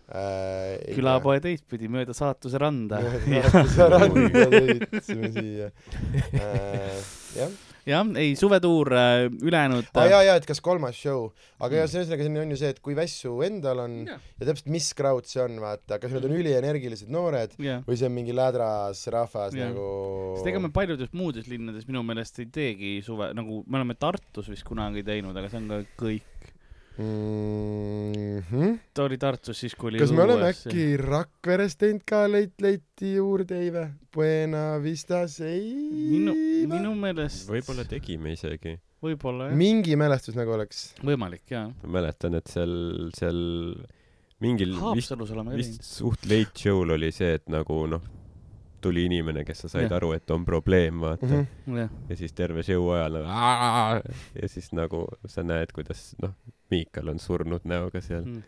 [SPEAKER 2] äh, ?
[SPEAKER 3] külapoe teistpidi mööda saatuse randa .
[SPEAKER 2] jõudsime siia äh, . jah ,
[SPEAKER 3] jah , ei suvetuur äh, ülejäänud
[SPEAKER 2] aa jaa , jaa , et kas kolmas show , aga jah ,
[SPEAKER 3] Mm.
[SPEAKER 2] ühesõnaga siin on ju see , et kui vässu endal on
[SPEAKER 3] Jah.
[SPEAKER 2] ja täpselt , mis crowd see on , vaata , kas
[SPEAKER 3] Mm.
[SPEAKER 2] nad on ülienergilised noored
[SPEAKER 3] jah ,
[SPEAKER 2] või see on mingi lädras rahvas
[SPEAKER 3] Jah.
[SPEAKER 2] nagu .
[SPEAKER 3] sest ega me paljudes muudes linnades minu meelest ei teegi suve , nagu me oleme Tartus vist kunagi teinud , aga see on ka kõik .
[SPEAKER 2] mm . -hmm.
[SPEAKER 3] ta oli Tartus siis , kui oli
[SPEAKER 2] kas me oleme
[SPEAKER 3] õues.
[SPEAKER 2] äkki Rakveres teinud ka leit- , leiti juurde , ei vä ? Buena Vistas ei ?
[SPEAKER 3] minu , minu meelest
[SPEAKER 4] võib-olla tegime isegi .
[SPEAKER 3] võib-olla jah ,
[SPEAKER 2] mingi mälestus nagu oleks .
[SPEAKER 3] võimalik jaa .
[SPEAKER 4] ma mäletan , et seal , seal mingil vist ,
[SPEAKER 3] Haapsalus oleme ka
[SPEAKER 4] vist
[SPEAKER 3] teinud .
[SPEAKER 4] suht late show'l oli see , et nagu noh , tuli inimene , kes sa said
[SPEAKER 3] Jah. Mhm.
[SPEAKER 4] ja. aru , et on probleem , vaata
[SPEAKER 2] Mhm.
[SPEAKER 4] mm . -hmm.
[SPEAKER 3] jah ,
[SPEAKER 4] ja siis terve show ajal nagu, "Aa!" ja siis nagu sa näed , kuidas noh , Miikal on surnud näoga seal
[SPEAKER 3] Mm.
[SPEAKER 4] mm.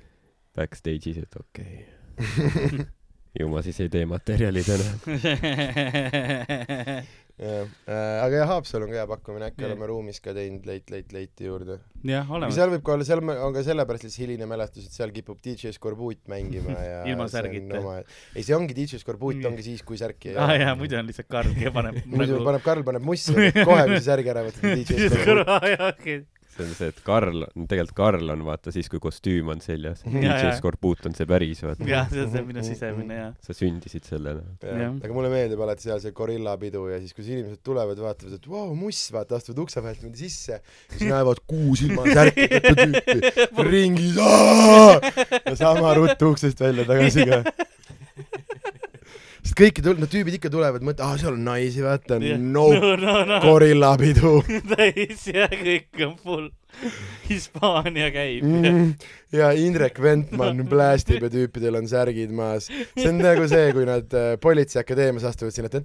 [SPEAKER 4] backstage'is , et okei okay. ju ma siis ei tee materjali täna .
[SPEAKER 2] jah , aga jah , Haapsalu on ka hea pakkumine , äkki
[SPEAKER 3] Jah.
[SPEAKER 2] oleme ruumis ka teinud leit- , leit- , leiti juurde .
[SPEAKER 3] jah ,
[SPEAKER 2] Aga
[SPEAKER 3] oleme .
[SPEAKER 2] seal võib ka olla , seal me- on ka sellepärast lihtsalt hiline mälestus , et seal kipub DJ Skorbuut mängima ja
[SPEAKER 3] Ilma
[SPEAKER 2] see on
[SPEAKER 3] särgita.
[SPEAKER 2] oma... . ei , see ongi DJ Skorbuut ,
[SPEAKER 3] Nii.
[SPEAKER 2] ongi siis , kui särki ei
[SPEAKER 3] aa jaa , muidu on lihtsalt Karl , kes paneb
[SPEAKER 2] muidu nagu... paneb , Karl paneb mussi , kohe kui sa särgi ära võtad , on DJ Skorbuut .
[SPEAKER 4] see on see , et Karl , tegelikult Karl on vaata siis , kui kostüüm on seljas .
[SPEAKER 3] jaa.
[SPEAKER 4] DJ Skorbuut on see päris , vaata .
[SPEAKER 3] jah , see on see minu sisemine jaa .
[SPEAKER 4] sa sündisid noh. sellena .
[SPEAKER 2] Ja.
[SPEAKER 3] Jah.
[SPEAKER 2] äh, aga mulle meeldib alati seal see gorillapidu ja siis , kus inimesed tulevad , vaatavad , et vau , muss , vaata , astuvad ukse vahelt niimoodi sisse , siis näevad kuus ilma särkideta tüüpi ringis . ja sama ruttu uksest välja tagasi ka . sest kõik tul- , no tüübid ikka tulevad , mõtlevad , aa , seal on naisi , vaata , no
[SPEAKER 3] no , no ,
[SPEAKER 2] gorillapidu
[SPEAKER 3] täis ja kõik on full . Hispaania käib mm. .
[SPEAKER 2] mm, . ja Indrek Ventman plästib ja tüüpidel on särgid maas . see on nagu see , kui nad äh, politseiakadeemias astuvad sinna . The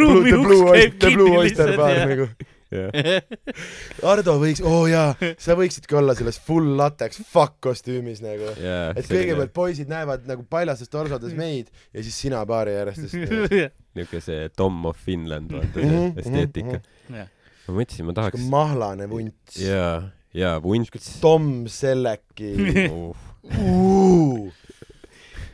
[SPEAKER 3] ruumi uks
[SPEAKER 2] Blue
[SPEAKER 3] käib
[SPEAKER 2] Oyster- The Blue
[SPEAKER 3] kinni
[SPEAKER 2] Oyster Bar
[SPEAKER 3] lihtsalt
[SPEAKER 2] nagu .
[SPEAKER 4] jah ,
[SPEAKER 3] ja .
[SPEAKER 2] Ardo võiks , oo jaa , sa võiksidki olla selles full latex fuck kostüümis nagu .
[SPEAKER 4] jah .
[SPEAKER 2] et kõigepealt poisid näevad nagu paljastes torsodes meid ja siis sina baari järjestest .
[SPEAKER 4] niuke see Tom of Finland , vaata see
[SPEAKER 2] Mhm,
[SPEAKER 4] esteetika
[SPEAKER 2] mhm. .
[SPEAKER 3] jah ,
[SPEAKER 4] ma mõtlesin , ma tahaks ,
[SPEAKER 2] mahlane vunts .
[SPEAKER 4] jaa , jaa , vunts .
[SPEAKER 2] Tom Selleki .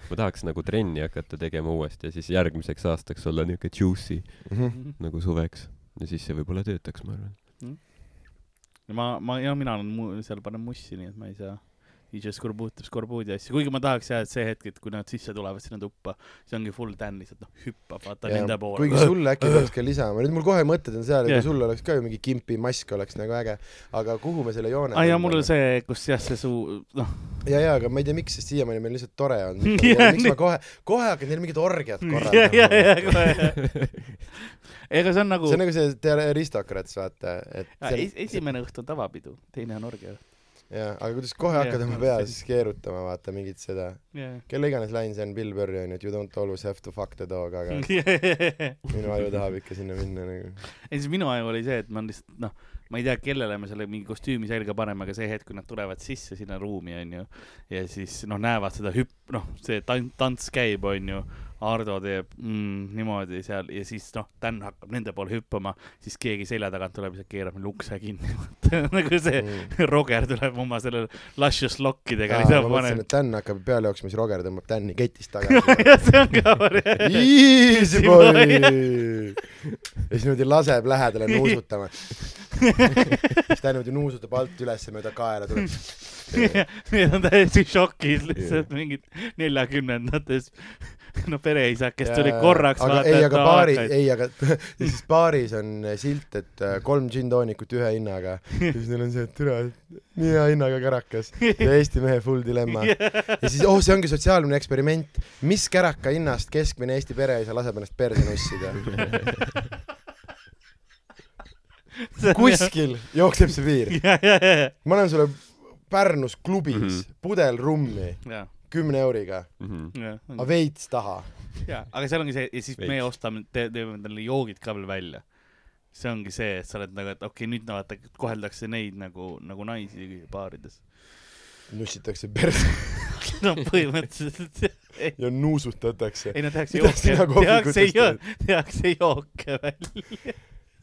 [SPEAKER 4] ma tahaks nagu trenni hakata tegema uuesti ja siis järgmiseks aastaks olla niuke juicy
[SPEAKER 2] Mhm.
[SPEAKER 4] nagu suveks ja siis see võib-olla töötaks , ma arvan .
[SPEAKER 3] ma , ma ja mina olen mu- seal panen mussi , nii et ma ei saa ise skorbuutab skorbuudi asju , kuigi ma tahaks jah , et see hetk , et kui nad sisse tulevad sinna tuppa , see ongi full Dan lihtsalt noh , hüppab vaata
[SPEAKER 2] Jaa,
[SPEAKER 3] nende poole .
[SPEAKER 2] kuigi sulle äkki peaks ka lisama , nüüd mul kohe mõtted on seal , et
[SPEAKER 3] Jah.
[SPEAKER 2] kui sul oleks ka ju mingi kimpi mask oleks nagu äge , aga kuhu me selle joone
[SPEAKER 3] aa jaa , Ah, mul on . see , kus jah , see suu , noh ,
[SPEAKER 2] ja , ja , aga ma ei tea , miks , sest siiamaani meil lihtsalt tore on .
[SPEAKER 3] Jah,
[SPEAKER 2] miks
[SPEAKER 3] nii.
[SPEAKER 2] ma kohe , kohe hakkan neil mingit orgiat
[SPEAKER 3] ja , ja , ja
[SPEAKER 2] korraldama .
[SPEAKER 3] kohe . ega see on nagu
[SPEAKER 2] see on nagu see te- aristokraats , vaata , et
[SPEAKER 3] ja,
[SPEAKER 2] seal
[SPEAKER 3] es- , esimene õht on tavapidu , teine on orgia õht .
[SPEAKER 2] jah , aga kuidas kohe hakkad
[SPEAKER 3] Jah.
[SPEAKER 2] oma peas keerutama , vaata mingit seda , kelle iganes lain see on , Bill Burri on ju , et you don't always have to fuck the dog , aga
[SPEAKER 3] ei ,
[SPEAKER 2] minu aju tahab ikka sinna minna nagu .
[SPEAKER 3] siis minu aju oli see , et ma lihtsalt noh , ma ei tea , kellele me selle mingi kostüümi selga paneme , aga see hetk , kui nad tulevad sisse sinna ruumi , onju , ja siis noh , näevad seda hüpp- , noh , see tan- , tants käib , onju , Ardo teeb mm, niimoodi seal ja siis noh , Dan hakkab nende poole hüppama , siis keegi selja tagant tuleb ja keerab meil ukse kinni . nagu see Roger tuleb oma selle luscious lokkidega ,
[SPEAKER 2] ma
[SPEAKER 3] lisab
[SPEAKER 2] mõtlesin ,
[SPEAKER 3] paneb
[SPEAKER 2] et Dan hakkab peale jooksma , siis Roger tõmbab Dan'i ketist tagasi .
[SPEAKER 3] jah , see on ka variant .
[SPEAKER 2] Easy boy
[SPEAKER 3] boy. .
[SPEAKER 2] ja siis niimoodi laseb lähedale nuusutama . siis ta niimoodi nuusutab alt üles mööda kaela , tuleb
[SPEAKER 3] Need on täiesti šokis lihtsalt mingid neljakümnendates . no pereisa , kes tuli
[SPEAKER 2] Ja-
[SPEAKER 3] korraks
[SPEAKER 2] aga
[SPEAKER 3] vaata,
[SPEAKER 2] ei ,
[SPEAKER 3] et
[SPEAKER 2] aga
[SPEAKER 3] ta
[SPEAKER 2] baari ,
[SPEAKER 3] hakkas-
[SPEAKER 2] ei , aga ja siis baaris on silt , et äh, kolm džinntoonikut ühe hinnaga . ja siis neil on see , et türa , nii hea hinnaga kärakas . ja Eesti mehe full dilemma . ja siis , oh , see ongi sotsiaalne eksperiment . mis käraka hinnast keskmine Eesti pereisa laseb ennast perse nussida ? kuskil jookseb see piir .
[SPEAKER 3] ja , ja , ja ,
[SPEAKER 2] ma annan sulle Pärnus klubis mm
[SPEAKER 4] Mhm.
[SPEAKER 2] -hmm. pudel rummi
[SPEAKER 3] ja ,
[SPEAKER 2] kümne euriga ,
[SPEAKER 4] Mhm.
[SPEAKER 3] ja ,
[SPEAKER 2] aga veits taha .
[SPEAKER 3] ja , aga seal ongi see , ja siis
[SPEAKER 4] Veits.
[SPEAKER 3] meie ostame , teeme talle joogid ka veel välja . see ongi see , et sa oled nagu , et okei okay, , nüüd no vaata , koheldakse neid nagu , nagu naisi baarides .
[SPEAKER 2] nussitakse perse
[SPEAKER 3] no põhimõtteliselt jah.
[SPEAKER 2] ja nuusutatakse .
[SPEAKER 3] ei no tehakse
[SPEAKER 2] Mida
[SPEAKER 3] jooke
[SPEAKER 2] sina , kohvikutest
[SPEAKER 3] tehakse jo-
[SPEAKER 2] teed? ,
[SPEAKER 3] tehakse jooke välja .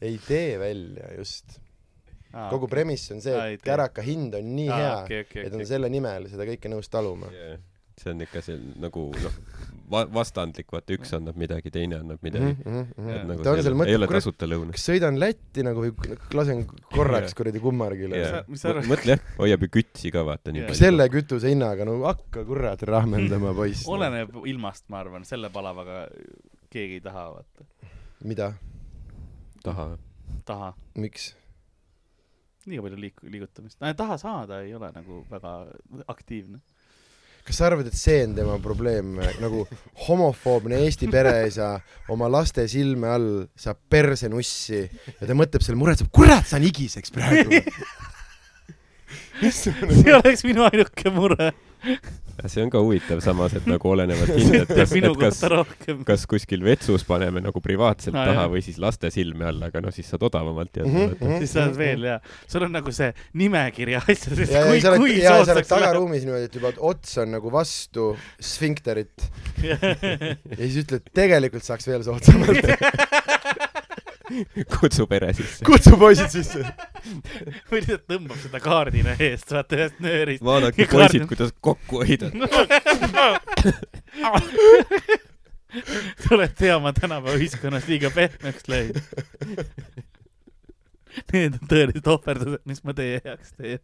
[SPEAKER 2] ei tee välja just . kogu premise on see ,
[SPEAKER 3] Aa, Ah, ei
[SPEAKER 2] et
[SPEAKER 3] tee.
[SPEAKER 2] käraka hind on nii
[SPEAKER 3] Aa,
[SPEAKER 2] hea
[SPEAKER 3] okei, , okei,
[SPEAKER 2] et
[SPEAKER 3] okei.
[SPEAKER 2] on selle nimel seda kõike nõus taluma .
[SPEAKER 4] Jaa. see on ikka see nagu noh va- vastandlik vaata üks annab midagi teine annab midagi
[SPEAKER 3] Jaa.
[SPEAKER 2] Mhm, ta on
[SPEAKER 4] nagu see
[SPEAKER 2] seal
[SPEAKER 4] ei ole- ei
[SPEAKER 2] mõtlev ,
[SPEAKER 4] ole
[SPEAKER 2] kurat ,
[SPEAKER 4] tasuta lõuna
[SPEAKER 2] kas sõidan Lätti nagu või lasen korraks kuradi kummargile
[SPEAKER 4] Jaa.
[SPEAKER 2] yeah. .
[SPEAKER 3] sa- mis sa
[SPEAKER 4] Mõ-
[SPEAKER 3] arvad?
[SPEAKER 4] mõtle jah hoiab ju kütsi ka vaata nii
[SPEAKER 3] Jaa.
[SPEAKER 4] palju
[SPEAKER 2] selle kütuse hinnaga , no hakka kurat rahmeldama poiss .
[SPEAKER 3] oleneb ilmast , ma arvan , selle palavaga keegi ei taha vaata ,
[SPEAKER 2] mida ,
[SPEAKER 4] taha
[SPEAKER 3] taha
[SPEAKER 2] miks ?
[SPEAKER 3] liiga palju liik- , liigutamist , taha saada ei ole nagu väga aktiivne .
[SPEAKER 2] kas sa arvad , et see on tema probleem , nagu homofoobne Eesti pereisa oma laste silme all saab persenussi ja ta mõtleb selle muretseb , kurat , saan igiseks praegu . Mhm.
[SPEAKER 3] see oleks minu ainuke mure ,
[SPEAKER 4] Aga see on ka huvitav samas et nagu olenevad hinded
[SPEAKER 3] teeb
[SPEAKER 4] kas
[SPEAKER 3] minu
[SPEAKER 4] et kas
[SPEAKER 3] kohta rohkem .
[SPEAKER 4] kas kuskil vetsus paneme nagu
[SPEAKER 3] Aa,
[SPEAKER 4] privaatselt no, taha
[SPEAKER 3] jah. Mhm.
[SPEAKER 4] või siis laste silme all aga noh siis saad odavamalt ja
[SPEAKER 3] siis sa oled veel hea , sul on nagu see nimekiri asjadest ,
[SPEAKER 2] ja ,
[SPEAKER 3] kui
[SPEAKER 2] ja sa , oled ,
[SPEAKER 3] kui
[SPEAKER 2] ja sa oled tagaruumis niimoodi , et juba ots on nagu vastu sfinkterit
[SPEAKER 3] läheb .
[SPEAKER 2] ja siis ütled , tegelikult saaks veel soodsamalt .
[SPEAKER 4] kutsu pere sisse
[SPEAKER 2] kutsu poisid sisse .
[SPEAKER 3] või lihtsalt tõmbab seda kaardina eest , vaata ühest nöörist .
[SPEAKER 4] vaadake
[SPEAKER 3] Ja
[SPEAKER 4] poisid
[SPEAKER 3] kaardin-
[SPEAKER 4] kuidas kokku hoidad
[SPEAKER 3] sa oled hea , ma tänapäeva ühiskonnas liiga pehmeks läinud . Need on tõelised ohverdused , mis ma teie heaks teen .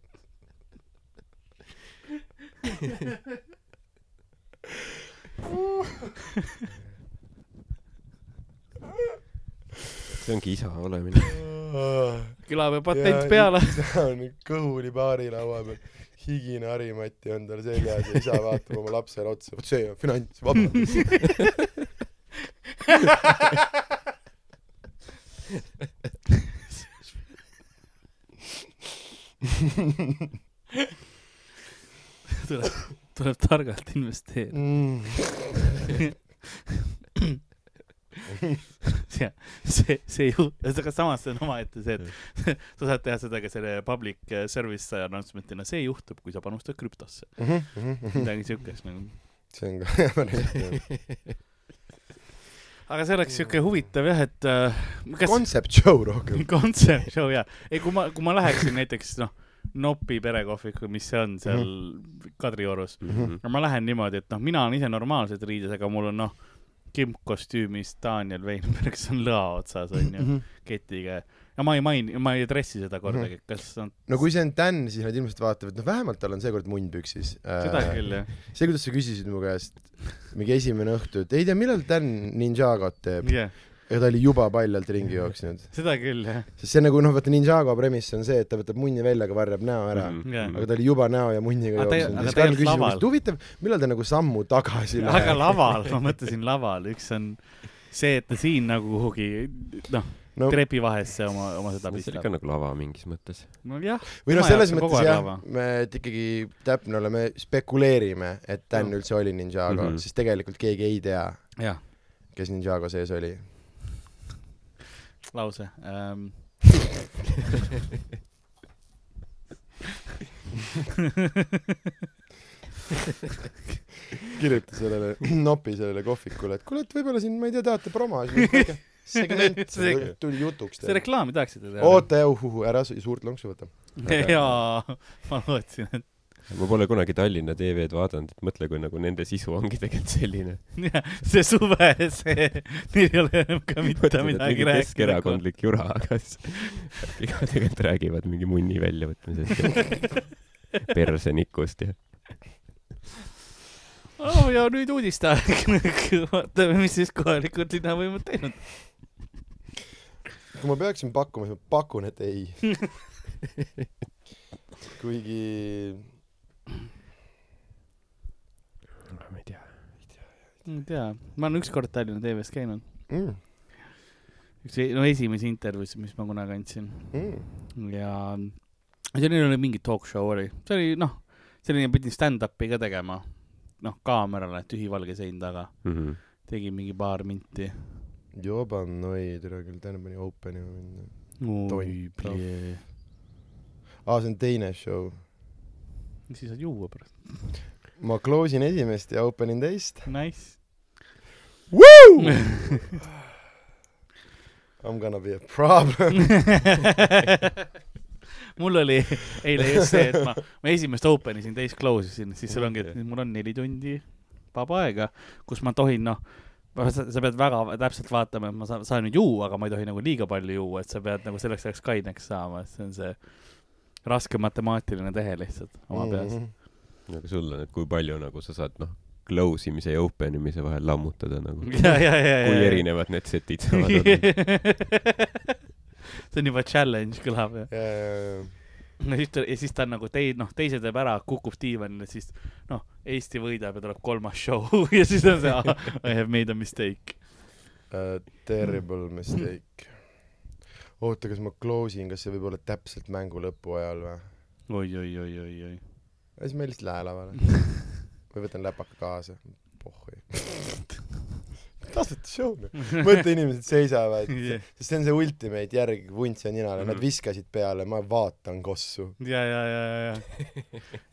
[SPEAKER 4] see ongi isa olemine
[SPEAKER 2] Ah,
[SPEAKER 3] külapäev patent peale .
[SPEAKER 2] isa on kõhuli baarilaua peal , higine harimati on tal seljas ja isa vaatab oma lapsele otsa , vot see on finants , vabandust .
[SPEAKER 3] tuleb , tuleb targalt investeerida . see , see , see ju , aga samas see on omaette see , et sa saad teha seda ka selle public service announcement'ina , see juhtub , kui sa panustad krüptosse . midagi siukest nagu .
[SPEAKER 2] see on ka hea variant .
[SPEAKER 3] aga see oleks siuke huvitav jah , et äh, kas
[SPEAKER 2] kontsept show rohkem .
[SPEAKER 3] kontsept show jaa . ei , kui ma , kui ma läheksin näiteks noh , Nopi perekohviku , mis see on seal
[SPEAKER 2] Mhm.
[SPEAKER 3] Kadriorus .
[SPEAKER 4] Mhm.
[SPEAKER 3] no ma lähen niimoodi , et noh , mina olen ise normaalselt riides , aga mul on noh , kimpkostüümis Daniel Veinberg , see on lõa otsas
[SPEAKER 2] Mhm.
[SPEAKER 3] onju ,
[SPEAKER 2] Mm-hmm.
[SPEAKER 3] ketiga . ja ma ei maini , ma ei dressi seda kordagi , kas on ,
[SPEAKER 2] no kui see on Dan , siis nad ilmselt vaatavad , noh vähemalt tal on seekord munn püksis .
[SPEAKER 3] seda küll jah .
[SPEAKER 2] see , kuidas sa küsisid mu käest , mingi esimene õhtu , et ei tea , millal Dan Ninjagot teeb
[SPEAKER 3] jah ,
[SPEAKER 2] ja ta oli juba paljalt ringi jooksnud .
[SPEAKER 3] seda küll jah ,
[SPEAKER 2] sest see on nagu noh , vaata Ninjago premiss on see , et ta võtab munni välja , aga varjab näo ära mm . -hmm.
[SPEAKER 3] jah .
[SPEAKER 2] aga ta oli juba näo ja munniga
[SPEAKER 3] Aga ta-
[SPEAKER 2] jooksnud .
[SPEAKER 3] aga
[SPEAKER 2] siis
[SPEAKER 3] ta ei
[SPEAKER 2] Karl
[SPEAKER 3] olnud
[SPEAKER 2] küsis
[SPEAKER 3] laval.
[SPEAKER 2] minult , huvitav , millal ta nagu sammu tagasi
[SPEAKER 3] aga
[SPEAKER 2] läheb ?
[SPEAKER 3] laval , ma mõtlesin laval , üks on see , et ta siin nagu kuhugi noh ,
[SPEAKER 2] no
[SPEAKER 3] trepi vahesse oma , oma seda
[SPEAKER 4] see oli ka
[SPEAKER 3] pistab .
[SPEAKER 4] nagu lava mingis mõttes
[SPEAKER 3] nojah ,
[SPEAKER 2] või noh ,
[SPEAKER 3] tema
[SPEAKER 2] selles
[SPEAKER 3] jaoks on kogu
[SPEAKER 2] mõttes
[SPEAKER 3] aeg
[SPEAKER 2] jah
[SPEAKER 3] lava. ,
[SPEAKER 2] me et ikkagi täpne oleme , spekuleerime , et Dan
[SPEAKER 3] No.
[SPEAKER 2] no. üldse oli Ninjago mm ,
[SPEAKER 4] Mhm.
[SPEAKER 2] -hmm. sest tegelikult keegi ei tea ,
[SPEAKER 3] jah ,
[SPEAKER 2] kes Ninjago sees oli .
[SPEAKER 3] lause ähm. .
[SPEAKER 2] kirjuta sellele nopi sellele kohvikule , et kuule , et võib-olla siin , ma ei tea , tahate promo , siis ma ütlen , segment
[SPEAKER 3] See-
[SPEAKER 2] tuli jutuks
[SPEAKER 3] see
[SPEAKER 2] teile .
[SPEAKER 3] reklaami tahaksite teha ?
[SPEAKER 2] oota , jauhuhu , ära su- suurt lonksu võta .
[SPEAKER 3] jaa , ma lootsin , et
[SPEAKER 4] ma pole kunagi Tallinna TV-d vaadanud , et mõtle , kui nagu nende sisu ongi tegelikult selline .
[SPEAKER 3] jah , see suve , see , neil ei ole enam ka mitte midagi rääkida .
[SPEAKER 4] keskerakondlik jura , aga siis iga tegelikult räägivad mingi munni väljavõtmisest ja persenikust ja .
[SPEAKER 3] oh, . ja nüüd uudisteaeg . vaatame , mis siis kohalikud linnavõimud teinud .
[SPEAKER 2] kui ma peaksin pakkuma , siis ma pakun , et ei . kuigi
[SPEAKER 4] ma ei tea .
[SPEAKER 3] ma ei tea , ma olen ükskord Tallinna TV-s käinud
[SPEAKER 2] mm,
[SPEAKER 3] üks , no esimesi intervjuusid , mis ma kunagi andsin
[SPEAKER 2] mm. .
[SPEAKER 3] ja selline oli mingi talk show oli , see oli noh , selline pidi stand-up'i ka tegema , noh kaamerale tühi valge sein taga ,
[SPEAKER 4] mm .
[SPEAKER 3] tegin mingi paar minti .
[SPEAKER 2] juba noi , tere küll , täna pani open'i minna .
[SPEAKER 3] oi
[SPEAKER 2] Oi, ,
[SPEAKER 3] plee .
[SPEAKER 2] aa , see on teine show .
[SPEAKER 3] siis saad juua pärast .
[SPEAKER 2] ma close in esimest ja open in teist .
[SPEAKER 3] Nice .
[SPEAKER 2] I m gonna be a problem .
[SPEAKER 3] mul oli eile just see , et ma , ma esimest open isin , teist close isin , siis seal ongi , et nüüd mul on neli tundi vaba aega , kus ma tohin , noh , sa sa pead väga täpselt vaatama , et ma saan , saan nüüd juua , aga ma ei tohi nagu liiga palju juua , et sa pead nagu selleks ajaks kaineks saama , et see on see raske matemaatiline tehe lihtsalt oma
[SPEAKER 4] Mhm.
[SPEAKER 2] Mhm.
[SPEAKER 3] peas .
[SPEAKER 4] -hmm. aga sul on , et kui palju nagu sa saad , noh , close imise ja open imise vahel lammutada nagu .
[SPEAKER 3] ja , ja , ja , ja .
[SPEAKER 4] kui . erinevad need setid saavad olla .
[SPEAKER 3] see on juba challenge kõlab jah .
[SPEAKER 2] peas .
[SPEAKER 3] no siis ta ja siis ta on nagu tei- noh teise teeb ära kukub diivanile siis noh Eesti võidab ja tuleb kolmas show ja siis on see ah, I have made a mistake
[SPEAKER 2] Uh, terrible mistake . oota , kas ma close in , kas see võib olla täpselt mängu lõpu ajal või ?
[SPEAKER 3] oi oi oi oi oi
[SPEAKER 2] siis ma lihtsalt lähen lavale . või võtan läpaka kaasa . pohhui . tasuta show noh . mõtle , inimesed seisavad ,
[SPEAKER 3] ja
[SPEAKER 2] sest see on see ultimate järg vuntsi ja ninale , nad
[SPEAKER 3] Mhm.
[SPEAKER 2] viskasid peale , ma vaatan kossu .
[SPEAKER 3] ja ja ja ja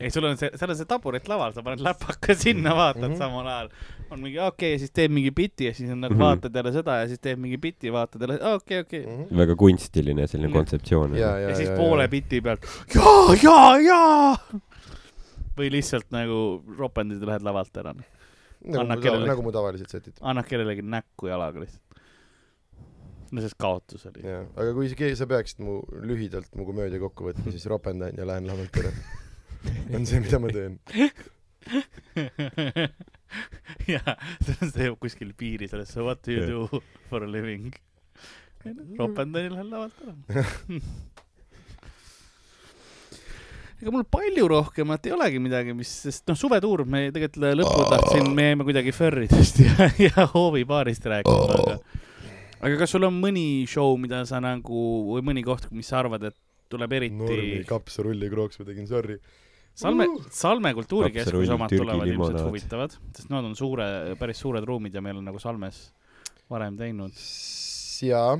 [SPEAKER 3] ei sul on see seal on see taburet laval sa paned läpaka sinna vaatad mm
[SPEAKER 2] Mhm.
[SPEAKER 3] -hmm. samal ajal on mingi okei okay, ja siis teeb mingi biti ja siis on nagu
[SPEAKER 4] Mhm.
[SPEAKER 3] vaatad jälle seda ja siis teeb mingi biti vaatad jälle okei okay, okei okay.
[SPEAKER 2] ja ,
[SPEAKER 4] väga kunstiline selline
[SPEAKER 3] Jah.
[SPEAKER 4] kontseptsioon .
[SPEAKER 2] ja ,
[SPEAKER 3] ja,
[SPEAKER 2] ja .
[SPEAKER 3] ja siis poole biti pealt jaa , jaa , jaa . või lihtsalt nagu ropendid ja lähed lavalt ära .
[SPEAKER 2] nagu
[SPEAKER 3] annab
[SPEAKER 2] mu
[SPEAKER 3] kellelegi.
[SPEAKER 2] tava- nagu mu tavaliselt setid .
[SPEAKER 3] annad kellelegi näkku jalaga lihtsalt . no sest kaotus oli .
[SPEAKER 2] jah , aga kui sa keegi , sa peaksid mu lühidalt mu komöödia kokku võtma , siis ropendan ja lähen lavalt ära . on see , mida ma teen .
[SPEAKER 3] jaa , see teeb kuskil piiri sellesse what do you
[SPEAKER 4] Jah.
[SPEAKER 3] do for a living . ropendan ja lähen lavalt ära ega mul palju rohkemat ei olegi midagi , mis , sest noh , suvetuur me tegelikult lõppu tahtsin , me jäime kuidagi Furridest ja , ja hoovipaarist rääkima , aga aga kas sul on mõni show , mida sa nagu , või mõni koht , mis sa arvad , et tuleb
[SPEAKER 2] normi
[SPEAKER 3] eriti
[SPEAKER 2] kapsarulli krooks ma tegin , sorry .
[SPEAKER 3] Salme , Salme kultuurikeskuse
[SPEAKER 4] Lapserull,
[SPEAKER 3] omad
[SPEAKER 4] Türgi
[SPEAKER 3] tulevad ilmselt
[SPEAKER 4] limonaad.
[SPEAKER 3] huvitavad , sest nad on suure , päris suured ruumid ja me oleme nagu Salmes varem teinud .
[SPEAKER 2] jaa ,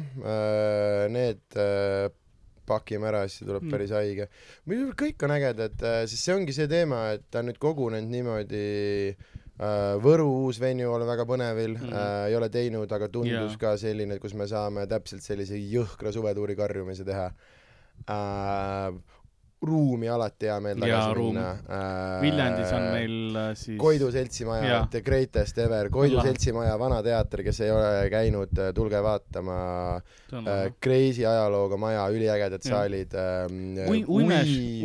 [SPEAKER 2] need äh, pakime ära , siis see tuleb
[SPEAKER 3] Mm.
[SPEAKER 2] päris haige . muidugi kõik on ägedad , sest see ongi see teema , et ta on nüüd kogunenud niimoodi äh, Võru uus venju on väga põnevil
[SPEAKER 3] Mm.
[SPEAKER 2] mm. , ei ole teinud , aga tundus
[SPEAKER 3] Jaa.
[SPEAKER 2] yeah. ka selline , kus me saame täpselt sellise jõhkra suvetuuri karjumise teha äh, . ruumi alati hea meel
[SPEAKER 3] Jaa,
[SPEAKER 2] tagasi
[SPEAKER 3] ruum.
[SPEAKER 2] minna äh,
[SPEAKER 3] Viljandis on meil äh, siis
[SPEAKER 2] Koidu seltsimaja
[SPEAKER 3] Jaa. ,
[SPEAKER 2] The Greatest Ever , Koidu
[SPEAKER 3] Lahe.
[SPEAKER 2] seltsimaja Vana teater , kes ei ole käinud , tulge vaatama äh,
[SPEAKER 3] Ui- ,
[SPEAKER 2] crazy ajalooga maja , üliägedad
[SPEAKER 3] Jah.
[SPEAKER 2] saalid äh, .
[SPEAKER 3] uime ,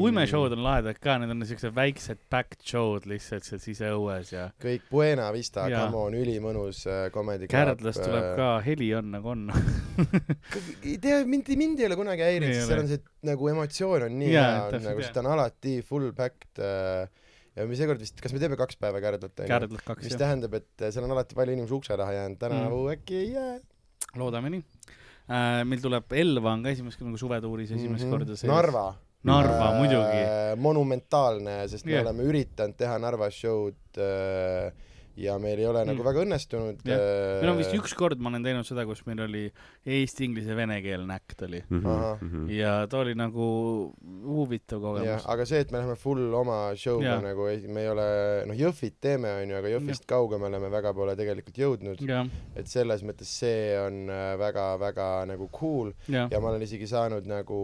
[SPEAKER 3] uimeshowd on lahedad ka , need on siuksed väiksed back show'd lihtsalt seal siseõues ja
[SPEAKER 2] kõik Buena Vista ,
[SPEAKER 3] Jaa.
[SPEAKER 2] come on , ülimõnus äh, comedy
[SPEAKER 3] Kärdlas tuleb . ka ,
[SPEAKER 2] äh,
[SPEAKER 3] heli on nagu on .
[SPEAKER 2] ei tea , mind , mind ei ole kunagi häirinud ,
[SPEAKER 3] Ei
[SPEAKER 2] sest
[SPEAKER 3] ole.
[SPEAKER 2] seal on see nagu emotsioon on nii
[SPEAKER 3] Jaa,
[SPEAKER 2] hea , on
[SPEAKER 3] täpselt,
[SPEAKER 2] nagu ,
[SPEAKER 3] jaa.
[SPEAKER 2] sest ta on alati full packed äh, ja me seekord vist , kas me teeme kaks päeva Kärdlat onju ?
[SPEAKER 3] Kärdlas kaks
[SPEAKER 2] mis
[SPEAKER 3] jah ,
[SPEAKER 2] tähendab , et äh, seal on alati palju inimesi ukse taha jäänud , tänavu mm. äkki ei jää .
[SPEAKER 3] loodame nii . meil tuleb Elva on ka esimest nagu suvetuuris esimest korda sees .
[SPEAKER 2] Mhm. Narva .
[SPEAKER 3] Narva muidugi .
[SPEAKER 2] monumentaalne , sest me
[SPEAKER 3] Jah.
[SPEAKER 2] yeah. oleme üritanud teha Narvas show'd äh, ja meil ei ole mm.
[SPEAKER 3] Mm.
[SPEAKER 2] nagu väga õnnestunud . äh,
[SPEAKER 3] Jah. meil on vist . ükskord , ma olen teinud seda , kus meil oli eesti , inglise , venekeelne äkt oli
[SPEAKER 4] Mhm.
[SPEAKER 2] Ahah.
[SPEAKER 4] ja
[SPEAKER 3] ja ta oli nagu huvitav
[SPEAKER 2] Mm. jah
[SPEAKER 3] kogemus ,.
[SPEAKER 2] aga see , et me läheme full oma show'ga
[SPEAKER 3] Jah.
[SPEAKER 2] yeah. nagu , me ei ole , noh , Jõhvit teeme , onju , aga Jõhvist yeah. kaugemale me väga pole tegelikult jõudnud ,
[SPEAKER 3] jah ,
[SPEAKER 2] et selles mõttes see on äh, väga-väga nagu cool
[SPEAKER 3] jah ,
[SPEAKER 2] ja ma olen isegi saanud nagu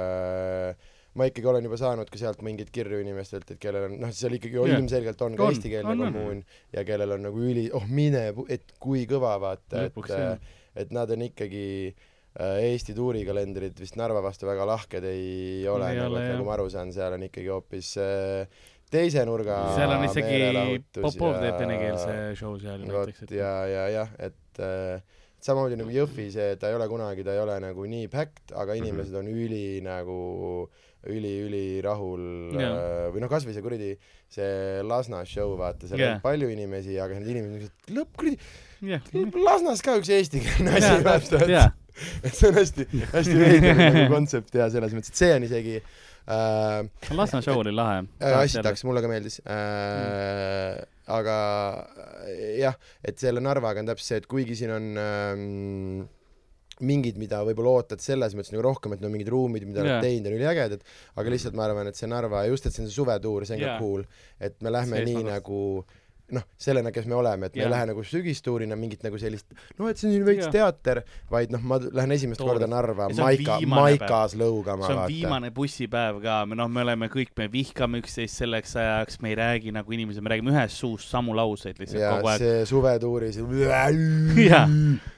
[SPEAKER 2] äh, ma ikkagi olen juba saanud ka sealt mingeid kirju inimestelt , et kellel on , noh , seal ikkagi yeah.
[SPEAKER 3] Jah.
[SPEAKER 2] ilmselgelt on ka
[SPEAKER 3] On,
[SPEAKER 2] eestikeelne
[SPEAKER 3] on, on.
[SPEAKER 2] kommuun ja kellel on nagu üli , oh mine , et kui kõva vaata ,
[SPEAKER 3] lõpuks jah
[SPEAKER 2] et , et nad on ikkagi äh, Eesti tuurikalendrid vist Narva vastu väga lahked ei ole ,
[SPEAKER 3] Ei
[SPEAKER 2] nagu,
[SPEAKER 3] ole,
[SPEAKER 2] et
[SPEAKER 3] jah.
[SPEAKER 2] nagu ma aru saan , seal on ikkagi hoopis äh, teise nurga
[SPEAKER 3] seal on isegi
[SPEAKER 2] meelelahutus
[SPEAKER 3] Popov teeb
[SPEAKER 2] ja-
[SPEAKER 3] venekeelse show seal näiteks , noh.
[SPEAKER 2] vot ja , ja jah , et äh, et samamoodi nagu Jõhvi see , ta ei ole kunagi , ta ei ole nagu nii packed , aga
[SPEAKER 3] Mhm.
[SPEAKER 2] inimesed on üli nagu üli-üli rahul
[SPEAKER 3] Jaa.
[SPEAKER 2] äh, või noh , kasvõi see kuradi see Lasna show , vaata , seal
[SPEAKER 3] Jaa.
[SPEAKER 2] on palju inimesi , aga need inimesed on siuksed , lõpp kuradi ,
[SPEAKER 3] et .
[SPEAKER 2] Lasnas ka üks eestikeelne asi läheb
[SPEAKER 3] jaa
[SPEAKER 2] sealt ., et see on hästi , hästi veider nagu kontsept ja selles mõttes , et see on isegi äh, ,
[SPEAKER 3] Lasna show oli
[SPEAKER 2] Äh,
[SPEAKER 3] lahe .
[SPEAKER 2] asitaks , mulle ka meeldis äh, .
[SPEAKER 3] Mm.
[SPEAKER 2] aga äh, jah , et selle Narvaga on täpselt see , et kuigi siin on ähm, mingid , mida võib-olla ootad selles mõttes nagu rohkem , et no mingid ruumid , mida nad
[SPEAKER 3] Jaa.
[SPEAKER 2] yeah.
[SPEAKER 3] Mm.
[SPEAKER 2] teinud on üliägedad , aga lihtsalt ma arvan , et see Narva , just et see on see suvetuur , see on yeah.
[SPEAKER 3] Jaa.
[SPEAKER 2] ka cool , et me lähme
[SPEAKER 3] See
[SPEAKER 2] see nii
[SPEAKER 3] esmapäevast.
[SPEAKER 2] nagu noh , sellena , kes me oleme , et me
[SPEAKER 3] Jaa.
[SPEAKER 2] ei lähe nagu sügistuurina mingit nagu sellist , no et see on siin veits
[SPEAKER 3] Jaa.
[SPEAKER 2] teater , vaid noh , ma lähen esimest
[SPEAKER 3] Toores.
[SPEAKER 2] korda Narva
[SPEAKER 3] Ja see on
[SPEAKER 2] maika ,
[SPEAKER 3] viimane
[SPEAKER 2] maikas lõugama .
[SPEAKER 3] see on viimane bussipäev ka , me noh , me oleme kõik , me vihkame üksteist selleks ajaks , me ei räägi nagu inimesed , me räägime ühest suust samu lauseid lihtsalt
[SPEAKER 2] ja
[SPEAKER 3] kogu aeg .
[SPEAKER 2] see suvetuuris .
[SPEAKER 3] Jaa.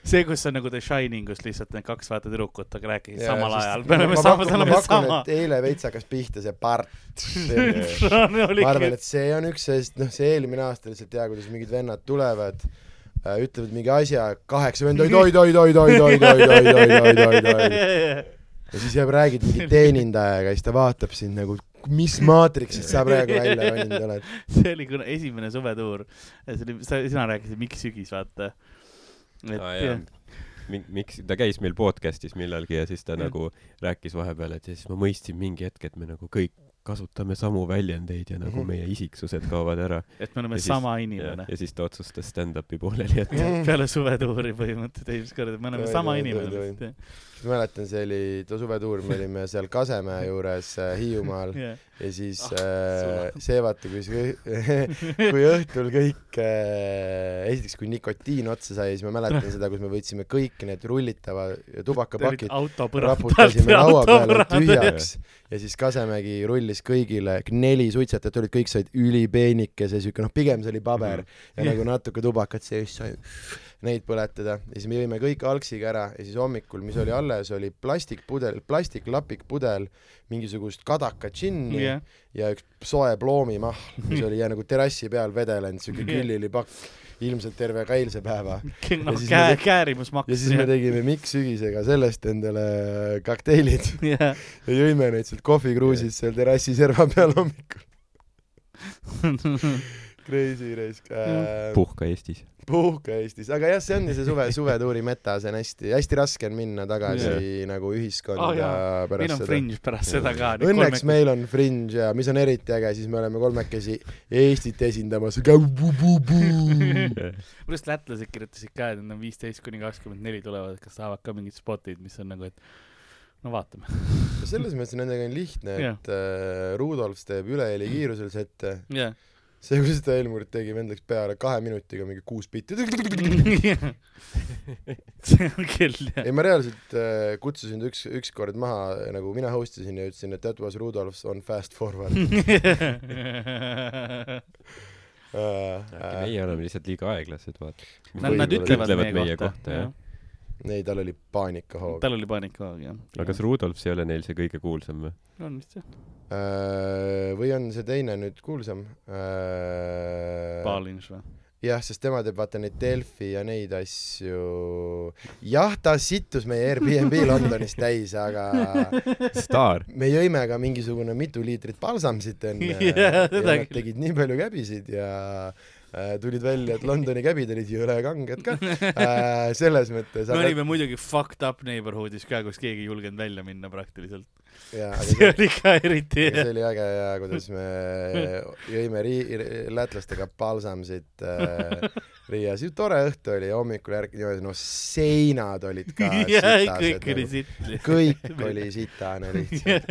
[SPEAKER 3] see , kus on nagu The Shiningus lihtsalt need kaks vaata tüdrukut , aga rääkisid samal ajal . me oleme sama , me oleme sama .
[SPEAKER 2] eile veits hakkas pihta see part . ma arvan ,
[SPEAKER 3] oligi ,
[SPEAKER 2] et see on üks sellest , noh , see eelmine aasta lihtsalt hea , kuidas mingid vennad tulevad , ütlevad mingi asja , kaheksa vend , oi , oi , oi , oi , oi , oi , oi , oi , oi , oi , oi , oi . ja siis jääb , räägid mingi teenindajaga ja siis ta vaatab sind nagu , mis maatriksist sa praegu välja roninud oled .
[SPEAKER 3] see oli kuna esimene suvetuur , see oli , sa , sina rääkisid Mikk Sügis , vaata . et
[SPEAKER 4] Aa,
[SPEAKER 3] ah,
[SPEAKER 4] jaa. Mi- miks , ta käis meil podcast'is millalgi ja siis ta
[SPEAKER 3] Mm.
[SPEAKER 4] nagu rääkis vahepeal , et ja siis ma mõistsin mingi hetk , et me nagu kõik kasutame samu väljendeid ja nagu
[SPEAKER 2] Mhm.
[SPEAKER 4] meie isiksused kaovad ära .
[SPEAKER 3] et me oleme
[SPEAKER 4] Ja siis-
[SPEAKER 3] siis, sama
[SPEAKER 4] ja
[SPEAKER 3] inimene ,
[SPEAKER 4] ja siis ta otsustas stand-up'i pooleli jätta .
[SPEAKER 3] peale suvetuuri põhimõtteliselt esimest korda , et me oleme
[SPEAKER 2] Oi,
[SPEAKER 3] sama
[SPEAKER 2] oi, oi,
[SPEAKER 3] inimene
[SPEAKER 2] oi.
[SPEAKER 3] lihtsalt ,
[SPEAKER 2] ma mäletan , see oli too suvetuur , me olime seal Kasemäe juures äh, Hiiumaal
[SPEAKER 3] jah .
[SPEAKER 2] ja siis äh, see vaata , kui see , kui õhtul kõik äh, , esiteks kui nikotiin otsa sai , siis ma mäletan seda , kus me võtsime kõik need rullitava tubakapakid ,
[SPEAKER 3] auto
[SPEAKER 2] raputasime laua peale
[SPEAKER 3] tühjaks .
[SPEAKER 2] tühjaks ja siis Kasemägi rullis kõigile neli suitsetajat olid , kõik said ülipeenikese siuke , noh , pigem see oli paber ja nagu natuke tubakat sees sai neid põletada ja siis me jõime kõik algsiga ära ja siis hommikul , mis oli alles , oli plastikpudel , plastiklapikpudel mingisugust kadaka džinni yeah. ja
[SPEAKER 3] jah ,
[SPEAKER 2] üks soe ploomimahl , mis oli ja nagu terrassi peal vedelenud , siuke
[SPEAKER 3] Jah.
[SPEAKER 2] küllilipakk ilmselt terve ka eilse päeva .
[SPEAKER 3] noh
[SPEAKER 2] siis me
[SPEAKER 3] käe ,
[SPEAKER 2] teg- ja
[SPEAKER 3] käärimusmaks
[SPEAKER 2] siis . me tegime Mikk Sügisega sellest endale kokteilid
[SPEAKER 3] jah ,
[SPEAKER 2] ja jõime neid sealt kohvikruusist seal terrassi serva peal hommikul . Crazy raisk äh, .
[SPEAKER 4] puhka Eestis .
[SPEAKER 2] puhka Eestis , aga jah , see on see suve , suvetuuri meta , see on hästi , hästi raske on minna tagasi yeah. nagu ühiskonda
[SPEAKER 3] Ah,
[SPEAKER 2] oh,
[SPEAKER 3] jaa. meil
[SPEAKER 2] pärast
[SPEAKER 3] on
[SPEAKER 2] seda .
[SPEAKER 3] fringe pärast seda ka .
[SPEAKER 2] Õnneks meil on fringe ja mis on eriti äge , siis me oleme kolmekesi Eestit esindamas .
[SPEAKER 3] kuidas lätlased kirjutasid ka , et nad on viisteist kuni kakskümmend neli tulevad , kas saavad ka mingid spotid , mis on nagu , et no vaatame .
[SPEAKER 2] selles mõttes nendega on lihtne , et äh, Rudolf teeb üle heli kiirusel sette .
[SPEAKER 3] jah .
[SPEAKER 2] see , kuidas ta Helmurit tegi , vend läks peale kahe minutiga mingi kuus bitti .
[SPEAKER 3] see on küll jah .
[SPEAKER 2] ei , ma reaalselt äh, kutsusin ta üks , ükskord maha , nagu mina host isin ja ütlesin , et that was Rudolf on fast forward . Äh,
[SPEAKER 4] meie oleme lihtsalt liiga aeglased , vaata .
[SPEAKER 3] Nad , nad ütlevad,
[SPEAKER 4] ütlevad meie kohta,
[SPEAKER 3] jah
[SPEAKER 4] jah. .
[SPEAKER 2] ei , tal oli paanikahoog .
[SPEAKER 3] tal oli paanikahoog jah .
[SPEAKER 4] aga kas Rudolfs ei ole neil see kõige kuulsam või ?
[SPEAKER 3] on vist jah ,
[SPEAKER 2] Äh, või on see teine nüüd kuulsam äh, ?
[SPEAKER 3] Paalins või ?
[SPEAKER 2] jah , sest tema teeb vaata neid Delfi ja neid asju . jah , ta sittus meie Airbnb Londonis täis , aga
[SPEAKER 4] staar .
[SPEAKER 2] me jõime ka mingisugune mitu liitrit palsamsit enne ja
[SPEAKER 3] Jah, seda
[SPEAKER 2] nad
[SPEAKER 3] küll.
[SPEAKER 2] tegid nii palju käbisid ja äh, tulid välja , et Londoni käbid olid jõle kanged ka äh, . selles mõttes ,
[SPEAKER 3] me
[SPEAKER 2] aga,
[SPEAKER 3] olime muidugi fucked up neighborhood'is ka , kus keegi ei julgenud välja minna praktiliselt .
[SPEAKER 2] ja, aga
[SPEAKER 3] see oli ka eriti
[SPEAKER 2] ja see oli äge ja kuidas me jõime ri- , lätlastega palsamsit äh, Riias , tore õhtu oli , hommikul ärkasin , no seinad olid ka
[SPEAKER 3] jah , kõik oli
[SPEAKER 2] sitased .
[SPEAKER 3] sitt lihtsalt .
[SPEAKER 2] kõik oli sitane lihtsalt .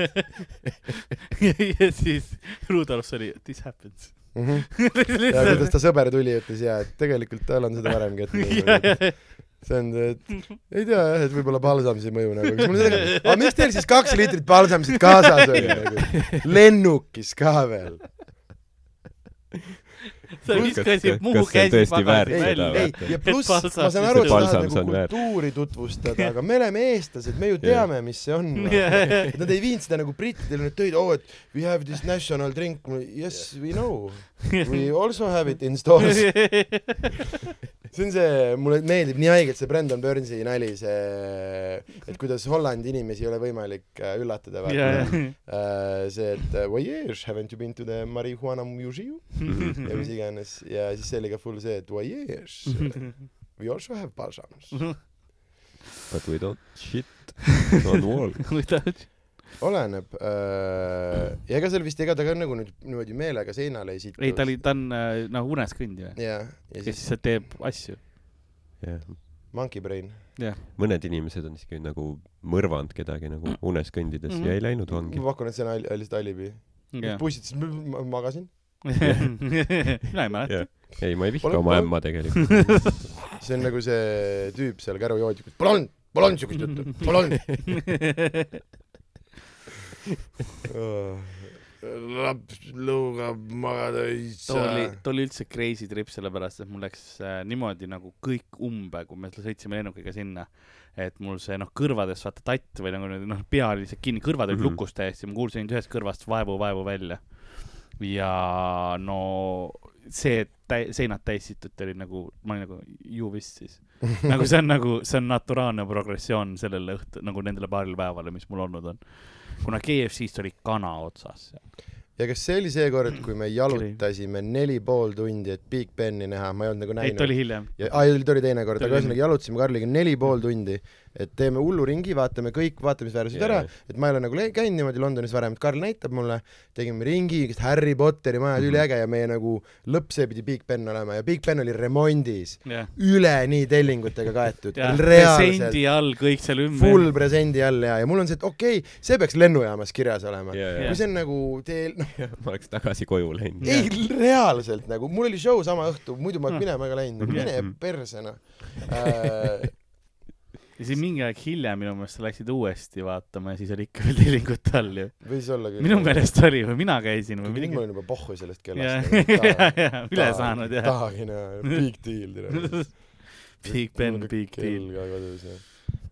[SPEAKER 3] ja siis Rudolf oli this happens .
[SPEAKER 2] Mhm. ja
[SPEAKER 3] lihtsalt
[SPEAKER 2] kuidas ta sõber tuli ja ütles jaa , et tegelikult tal on seda varemgi ette tulnud . see on see , et ei tea jah , et võib-olla palsamsi mõju nagu , siis mul sellega , aga miks teil siis kaks liitrit palsamsit kaasas oli nagu , lennukis ka veel .
[SPEAKER 3] sa viskasid
[SPEAKER 4] Kas-
[SPEAKER 3] Muhu
[SPEAKER 4] kas see on
[SPEAKER 3] käsi
[SPEAKER 4] tõesti väärt
[SPEAKER 3] pagasi
[SPEAKER 4] seda
[SPEAKER 3] välja
[SPEAKER 4] või? .
[SPEAKER 2] ei , ja pluss , ma
[SPEAKER 3] palsam
[SPEAKER 2] saan
[SPEAKER 3] siis
[SPEAKER 2] aru ,
[SPEAKER 4] on-
[SPEAKER 2] sa tahad
[SPEAKER 4] palsam,
[SPEAKER 2] nagu
[SPEAKER 4] see on väärt.
[SPEAKER 2] kultuuri tutvustada , aga me oleme eestlased , me ju teame , mis see on . et nad ei viinud seda nagu brittidele nüüd töid , oo , et we have this national drink , yes we know . We also have it in stores . see on see , mulle meeldib nii haigelt see Brandon Burnsi nali , see , et kuidas Hollandi inimesi ei ole võimalik äh, üllatada , vaata
[SPEAKER 3] ja , ja ,
[SPEAKER 2] Äh, see , et äh, why yes, haven't you been to the marihuana museum ?
[SPEAKER 3] Mhm.
[SPEAKER 2] ja mis iganes ja siis see oli ka full see , et why yes , we also have balsams .
[SPEAKER 4] But we don't shit on wall .
[SPEAKER 3] Without-
[SPEAKER 2] oleneb äh, . ja ega seal vist , ega ta ka nagu nüüd niimoodi meelega seinale ei situ .
[SPEAKER 3] ei , ta oli , ta on äh, nagu unes kõndija ,
[SPEAKER 2] jah , ja
[SPEAKER 3] kes
[SPEAKER 2] siis
[SPEAKER 3] lihtsalt teeb asju .
[SPEAKER 4] jah ,
[SPEAKER 2] Monkey Brain .
[SPEAKER 4] mõned inimesed on isegi nagu mõrvanud kedagi nagu unes kõndides mm -hmm. ja ei läinud vangi
[SPEAKER 2] ma . pakun , et see on al- lihtsalt alibi . bussid , siis ma- ma magasin .
[SPEAKER 3] mina ei mäleta .
[SPEAKER 4] jah , ei , ma ei vihka
[SPEAKER 2] Pole-
[SPEAKER 4] oma
[SPEAKER 2] pole-
[SPEAKER 4] ämma tegelikult .
[SPEAKER 2] see on nagu see tüüp seal kärujoodikus . Pole olnud , pole olnud siukest juttu , pole olnud . laps lõugab , magada ei
[SPEAKER 3] too oli
[SPEAKER 2] saa .,
[SPEAKER 3] too oli üldse crazy trip , sellepärast et mul läks äh, niimoodi nagu kõik umbe , kui me sõitsime lennukiga sinna . et mul see noh , kõrvades vaata tatt või nagu niimoodi, noh , pea oli lihtsalt kinni , kõrvad olid mm
[SPEAKER 4] Mhm.
[SPEAKER 3] -hmm. lukus täiesti , ma kuulsin ainult ühest kõrvast vaevu , vaevu välja . ja no see , et täi- , seinad täis situti oli nagu , ma olin nagu ju vist siis . nagu see on nagu , see on naturaalne progressioon sellele õhtu , nagu nendele paarile päevale , mis mul olnud on . kuna KFC-st oli kana otsas .
[SPEAKER 2] ja kas see oli see kord , kui me jalutasime neli pool tundi , et Big Beni näha , ma ei olnud nagu
[SPEAKER 3] ei , ta
[SPEAKER 2] näinud .
[SPEAKER 3] oli hiljem .
[SPEAKER 2] ja , aa , ei , ta oli teine kord ,
[SPEAKER 3] Ta
[SPEAKER 2] aga
[SPEAKER 3] oli- Mm.
[SPEAKER 2] ühesõnaga jalutasime Karliga neli pool tundi , et teeme hullu ringi , vaatame kõik vaatamisväärsused ära , et ma ei ole nagu le- käinud niimoodi Londonis varem , et Karl näitab mulle , tegime ringi , kes Harry Potteri maja
[SPEAKER 3] Mhm.
[SPEAKER 2] oli üliäge ja meie nagu lõpp , see pidi Big Ben olema ja Big Ben oli remondis ,
[SPEAKER 3] jah .
[SPEAKER 2] üleni tellingutega kaetud ,
[SPEAKER 3] ja
[SPEAKER 2] reaalselt ,
[SPEAKER 3] presendi all kõik seal ümber .
[SPEAKER 2] full presendi all ja , ja mul on see , et okei okay, , see peaks lennujaamas kirjas olema .
[SPEAKER 4] ja ,
[SPEAKER 2] kui see on nagu teel , noh ,
[SPEAKER 4] ja , ma oleks tagasi koju läinud .
[SPEAKER 2] ei reaalselt nagu , mul oli show sama õhtu , muidu ma oleks
[SPEAKER 3] Mm.
[SPEAKER 2] minema ka läinud ,
[SPEAKER 4] Mhm.
[SPEAKER 2] mine perse noh äh, .
[SPEAKER 3] ja siis mingi aeg hiljem minu meelest sa läksid uuesti vaatama ja siis oli ikka veel tellingute all ju .
[SPEAKER 2] võis olla küll .
[SPEAKER 3] minu . meelest oli või mina käisin või
[SPEAKER 2] nüüd ma
[SPEAKER 3] midagi .
[SPEAKER 2] olin juba pohhu sellest
[SPEAKER 3] ja
[SPEAKER 2] kellast ,.
[SPEAKER 3] ja , ja üle saanud jah .
[SPEAKER 2] tahagi näha , big deal tere .
[SPEAKER 3] Big Ben , Big Deal ,.
[SPEAKER 2] ka kodus jah .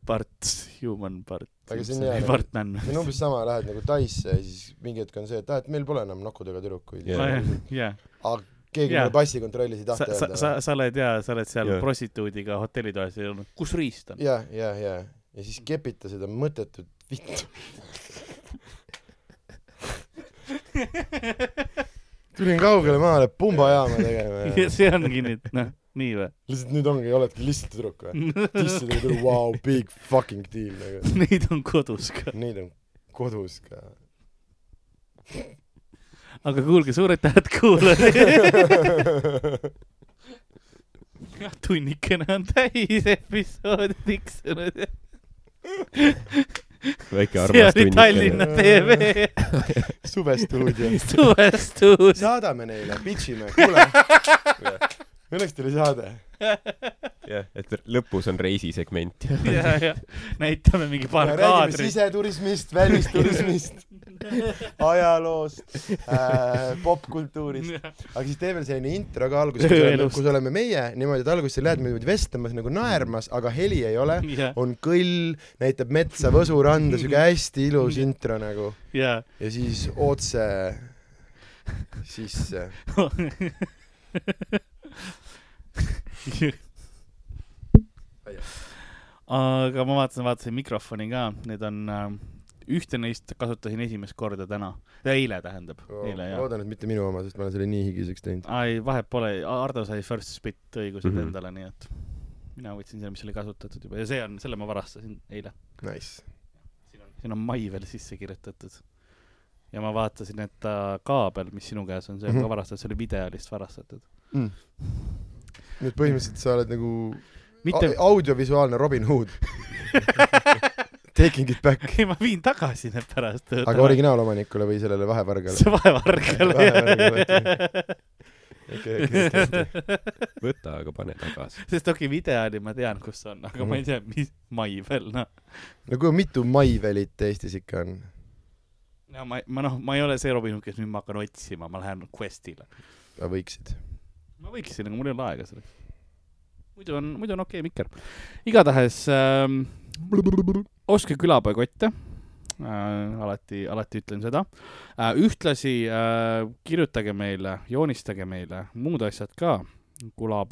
[SPEAKER 3] parts , human part .
[SPEAKER 2] Aga see on hea, nagu-
[SPEAKER 3] Bartman .
[SPEAKER 2] see on umbes sama , lähed nagu Taisse ja siis mingi hetk on see , et aa , et meil pole enam nokkudega tüdrukuid
[SPEAKER 4] Jaa.
[SPEAKER 2] yeah. .
[SPEAKER 3] jah ,
[SPEAKER 2] keegi
[SPEAKER 3] Jaa.
[SPEAKER 2] mulle passikontrollis ei
[SPEAKER 3] sa ,
[SPEAKER 2] tahta
[SPEAKER 3] sa , sa
[SPEAKER 2] öelda .,
[SPEAKER 3] sa oled jaa , sa oled seal
[SPEAKER 4] Jaa.
[SPEAKER 3] prostituudiga hotellitoas ja ei olnud , kus riist on ?
[SPEAKER 2] ja , ja , ja , ja siis kepita seda mõttetut vittu . tulin kaugele maale pumbajaama tegema ja
[SPEAKER 3] see ongi nüüd , noh , nii või ?
[SPEAKER 2] lihtsalt nüüd ongi , oledki lihtsalt tüdruk või ? tissidega tüdruk , vau , big fucking deal nagu .
[SPEAKER 3] Neid on kodus ka .
[SPEAKER 2] Neid on kodus ka .
[SPEAKER 3] aga kuulge , suur aitäh , et kuulasite . jah , tunnikene on täis episoodi tiksunud .
[SPEAKER 4] väike
[SPEAKER 3] see oli
[SPEAKER 4] armas tunnikene .
[SPEAKER 3] Tallinna TV
[SPEAKER 2] suvestuudio .
[SPEAKER 3] suvestuus .
[SPEAKER 2] saadame neile , pitch ime , kuule . Õnneks tuli saade .
[SPEAKER 4] jah , et lõpus on reisisegment .
[SPEAKER 3] ja , ja näitame mingi paar
[SPEAKER 2] räägime
[SPEAKER 3] kaadrit .
[SPEAKER 2] siseturismist , välisturismist , ajaloost äh, , popkultuurist . aga siis tee veel selline intro ka alguses , kus oleme-
[SPEAKER 3] Elust.
[SPEAKER 2] kus oleme meie , niimoodi , et alguses sa lähed niimoodi vestlemas nagu naermas , aga heli ei ole .
[SPEAKER 3] ja ,
[SPEAKER 2] on kõll , näitab metsa Võsu randa , siuke hästi ilus intro nagu .
[SPEAKER 3] ja
[SPEAKER 2] ja siis otse sisse .
[SPEAKER 3] aga ma vaatasin , vaatasin mikrofoni ka , need on äh, , ühte neist kasutasin esimest korda täna , eile tähendab , eile jah .
[SPEAKER 2] loodan , et mitte minu oma , sest ma olen selle nii higiseks teinud .
[SPEAKER 3] ei , vahet pole , Ardo sai first spit õigused mm
[SPEAKER 4] Mhm.
[SPEAKER 3] -hmm. endale , nii et mina võtsin selle , mis oli kasutatud juba ja see on , selle ma varastasin eile .
[SPEAKER 2] Nice .
[SPEAKER 3] siin on mai veel sisse kirjutatud . ja ma vaatasin , et ta kaabel , mis sinu käes on , see on mm
[SPEAKER 2] Mhm.
[SPEAKER 3] -hmm. ka varastatud , see oli videolist varastatud .
[SPEAKER 2] Mm. nüüd põhimõtteliselt sa oled nagu
[SPEAKER 3] mitte ,
[SPEAKER 2] a- audiovisuaalne Robin Hood . Taking it back .
[SPEAKER 3] ei ma viin tagasi need pärast .
[SPEAKER 2] aga . originaalomanikule või sellele vahevargale ?
[SPEAKER 3] see vaevargale
[SPEAKER 2] Vahevargale,
[SPEAKER 3] jah .
[SPEAKER 2] okei , okei , okei .
[SPEAKER 4] võta , aga pane tagasi .
[SPEAKER 3] sest okei okay, , videoni ma tean , kus see on , aga mm -hmm.
[SPEAKER 2] Mhm.
[SPEAKER 3] ma ei tea , mis mai veel , noh .
[SPEAKER 2] no kui mitu Maivelit Eestis ikka on ?
[SPEAKER 3] no ma , ma noh , ma ei ole see Robin Hood , kes nüüd ma hakkan otsima , ma lähen quest'ile .
[SPEAKER 2] sa võiksid .
[SPEAKER 3] ma võiksin , aga mul ei ole aega selleks . muidu on , muidu on okei okay, mikker . igatahes ähm, , ostke külapäevakotte äh, . alati , alati ütlen seda äh, . ühtlasi äh, kirjutage meile , joonistage meile muud asjad ka .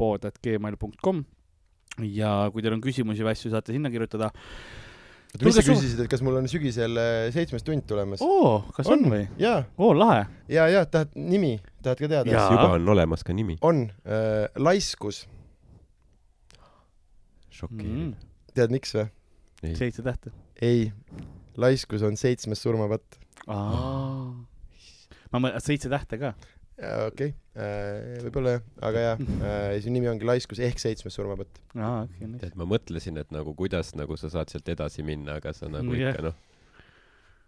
[SPEAKER 3] kulapood.gmail.com ja kui teil on küsimusi või asju , saate sinna kirjutada .
[SPEAKER 2] mis sa
[SPEAKER 3] Tulge Oh. suht-
[SPEAKER 2] küsisid , et kas mul on sügisel äh, seitsmes tund tulemas ?
[SPEAKER 3] oo , kas on, on või ?
[SPEAKER 2] jaa ,
[SPEAKER 3] oo , lahe .
[SPEAKER 2] jaa , jaa , tahad nimi , tahad ka teada ? eh,
[SPEAKER 3] Jaa.
[SPEAKER 4] juba on olemas ka nimi .
[SPEAKER 2] on äh, , laiskus ,
[SPEAKER 3] Mm.
[SPEAKER 4] šokeeriv .
[SPEAKER 2] tead miks või ?
[SPEAKER 4] ei ,
[SPEAKER 3] Mm-hmm. seitse tähte .
[SPEAKER 2] ei , laiskus on seitsmes surmapatt .
[SPEAKER 3] ma mõtlen , seitse tähte ka .
[SPEAKER 2] okei , võib-olla jah , aga jaa , su nimi ongi laiskus ehk seitsmes surmapatt .
[SPEAKER 3] aa , okei , nice .
[SPEAKER 4] tead , ma mõtlesin , et nagu kuidas nagu sa saad sealt edasi minna , aga sa nagu
[SPEAKER 3] Jah.
[SPEAKER 4] ikka noh ,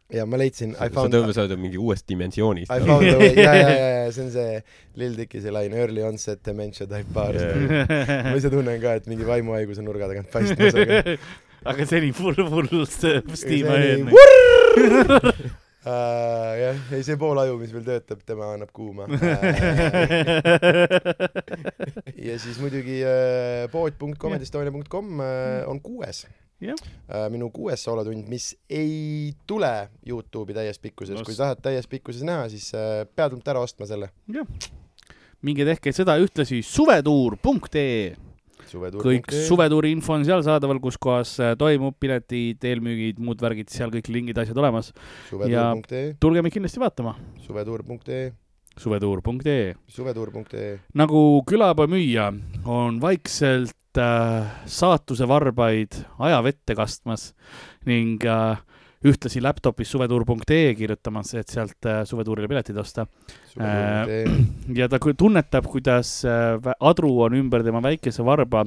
[SPEAKER 2] ja ma leidsin
[SPEAKER 4] sa
[SPEAKER 2] I
[SPEAKER 4] sa
[SPEAKER 2] found
[SPEAKER 4] tõmbad , sa oled mingi uuest dimensioonist .
[SPEAKER 2] I found a way , jaa , jaa , jaa , see on see Lil Dicky see laine Early onset dementia type bar yeah. . ma ise tunnen ka , et mingi vaimuhaiguse nurga tagant paistmas , aga
[SPEAKER 3] aga see oli full , full Steam Iron .
[SPEAKER 2] vurr . jah , ei see pool aju , mis veel töötab , tema annab kuuma . ja siis muidugi äh, pood.comedyestonia.com äh, on kuues
[SPEAKER 3] Jah. .
[SPEAKER 2] minu kuues soolotund , mis ei tule Youtube'i täies pikkuses ,
[SPEAKER 3] No
[SPEAKER 2] kui
[SPEAKER 3] s-
[SPEAKER 2] tahad täies pikkuses näha , siis äh, pead nüüd ära ostma selle
[SPEAKER 3] minge tehke seda ühtlasi suvetuur.ee .
[SPEAKER 2] suvetuur .
[SPEAKER 3] kõik suvetuuri info on seal saadaval , kus kohas äh, toimub piletid , eelmüügid , muud värgid , seal kõik lingid , asjad olemas .
[SPEAKER 2] suvetuur.ee ,
[SPEAKER 3] tulge meid kindlasti vaatama .
[SPEAKER 2] suvetuur.ee ,
[SPEAKER 3] suvetuur.ee .
[SPEAKER 2] suvetuur.ee .
[SPEAKER 3] nagu külapamüüja on vaikselt äh, saatuse varbaid ajavette kastmas ning äh, ühtlasi laptopis suvetuur.ee kirjutamas , et sealt äh, suvetuurile piletid osta .
[SPEAKER 2] suvetuur.ee ,
[SPEAKER 3] ja ta ku- tunnetab , kuidas äh, vä- adru on ümber tema väikese varba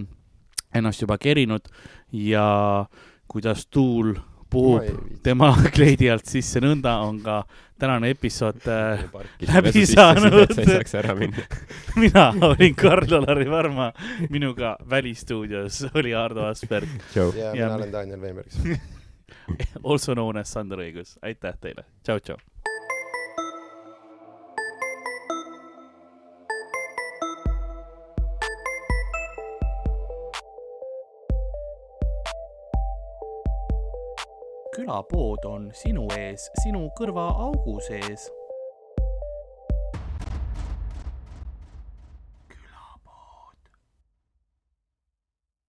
[SPEAKER 3] ennast juba kerinud ja kuidas tuul puhub tema kleidi alt sisse , nõnda on ka tänane episood äh, . läbi saanud.
[SPEAKER 4] sa ei saaks ära minna .
[SPEAKER 3] mina olin Karl-Alari Varma , minuga välistuudios oli Ardo Asperg ,
[SPEAKER 4] tšau .
[SPEAKER 2] ja
[SPEAKER 3] ja-
[SPEAKER 2] mina olen Daniel Veimerg .
[SPEAKER 3] also known as Sander Õigus , aitäh teile , tšau-tšau .
[SPEAKER 1] külapood on sinu ees , sinu kõrva augu sees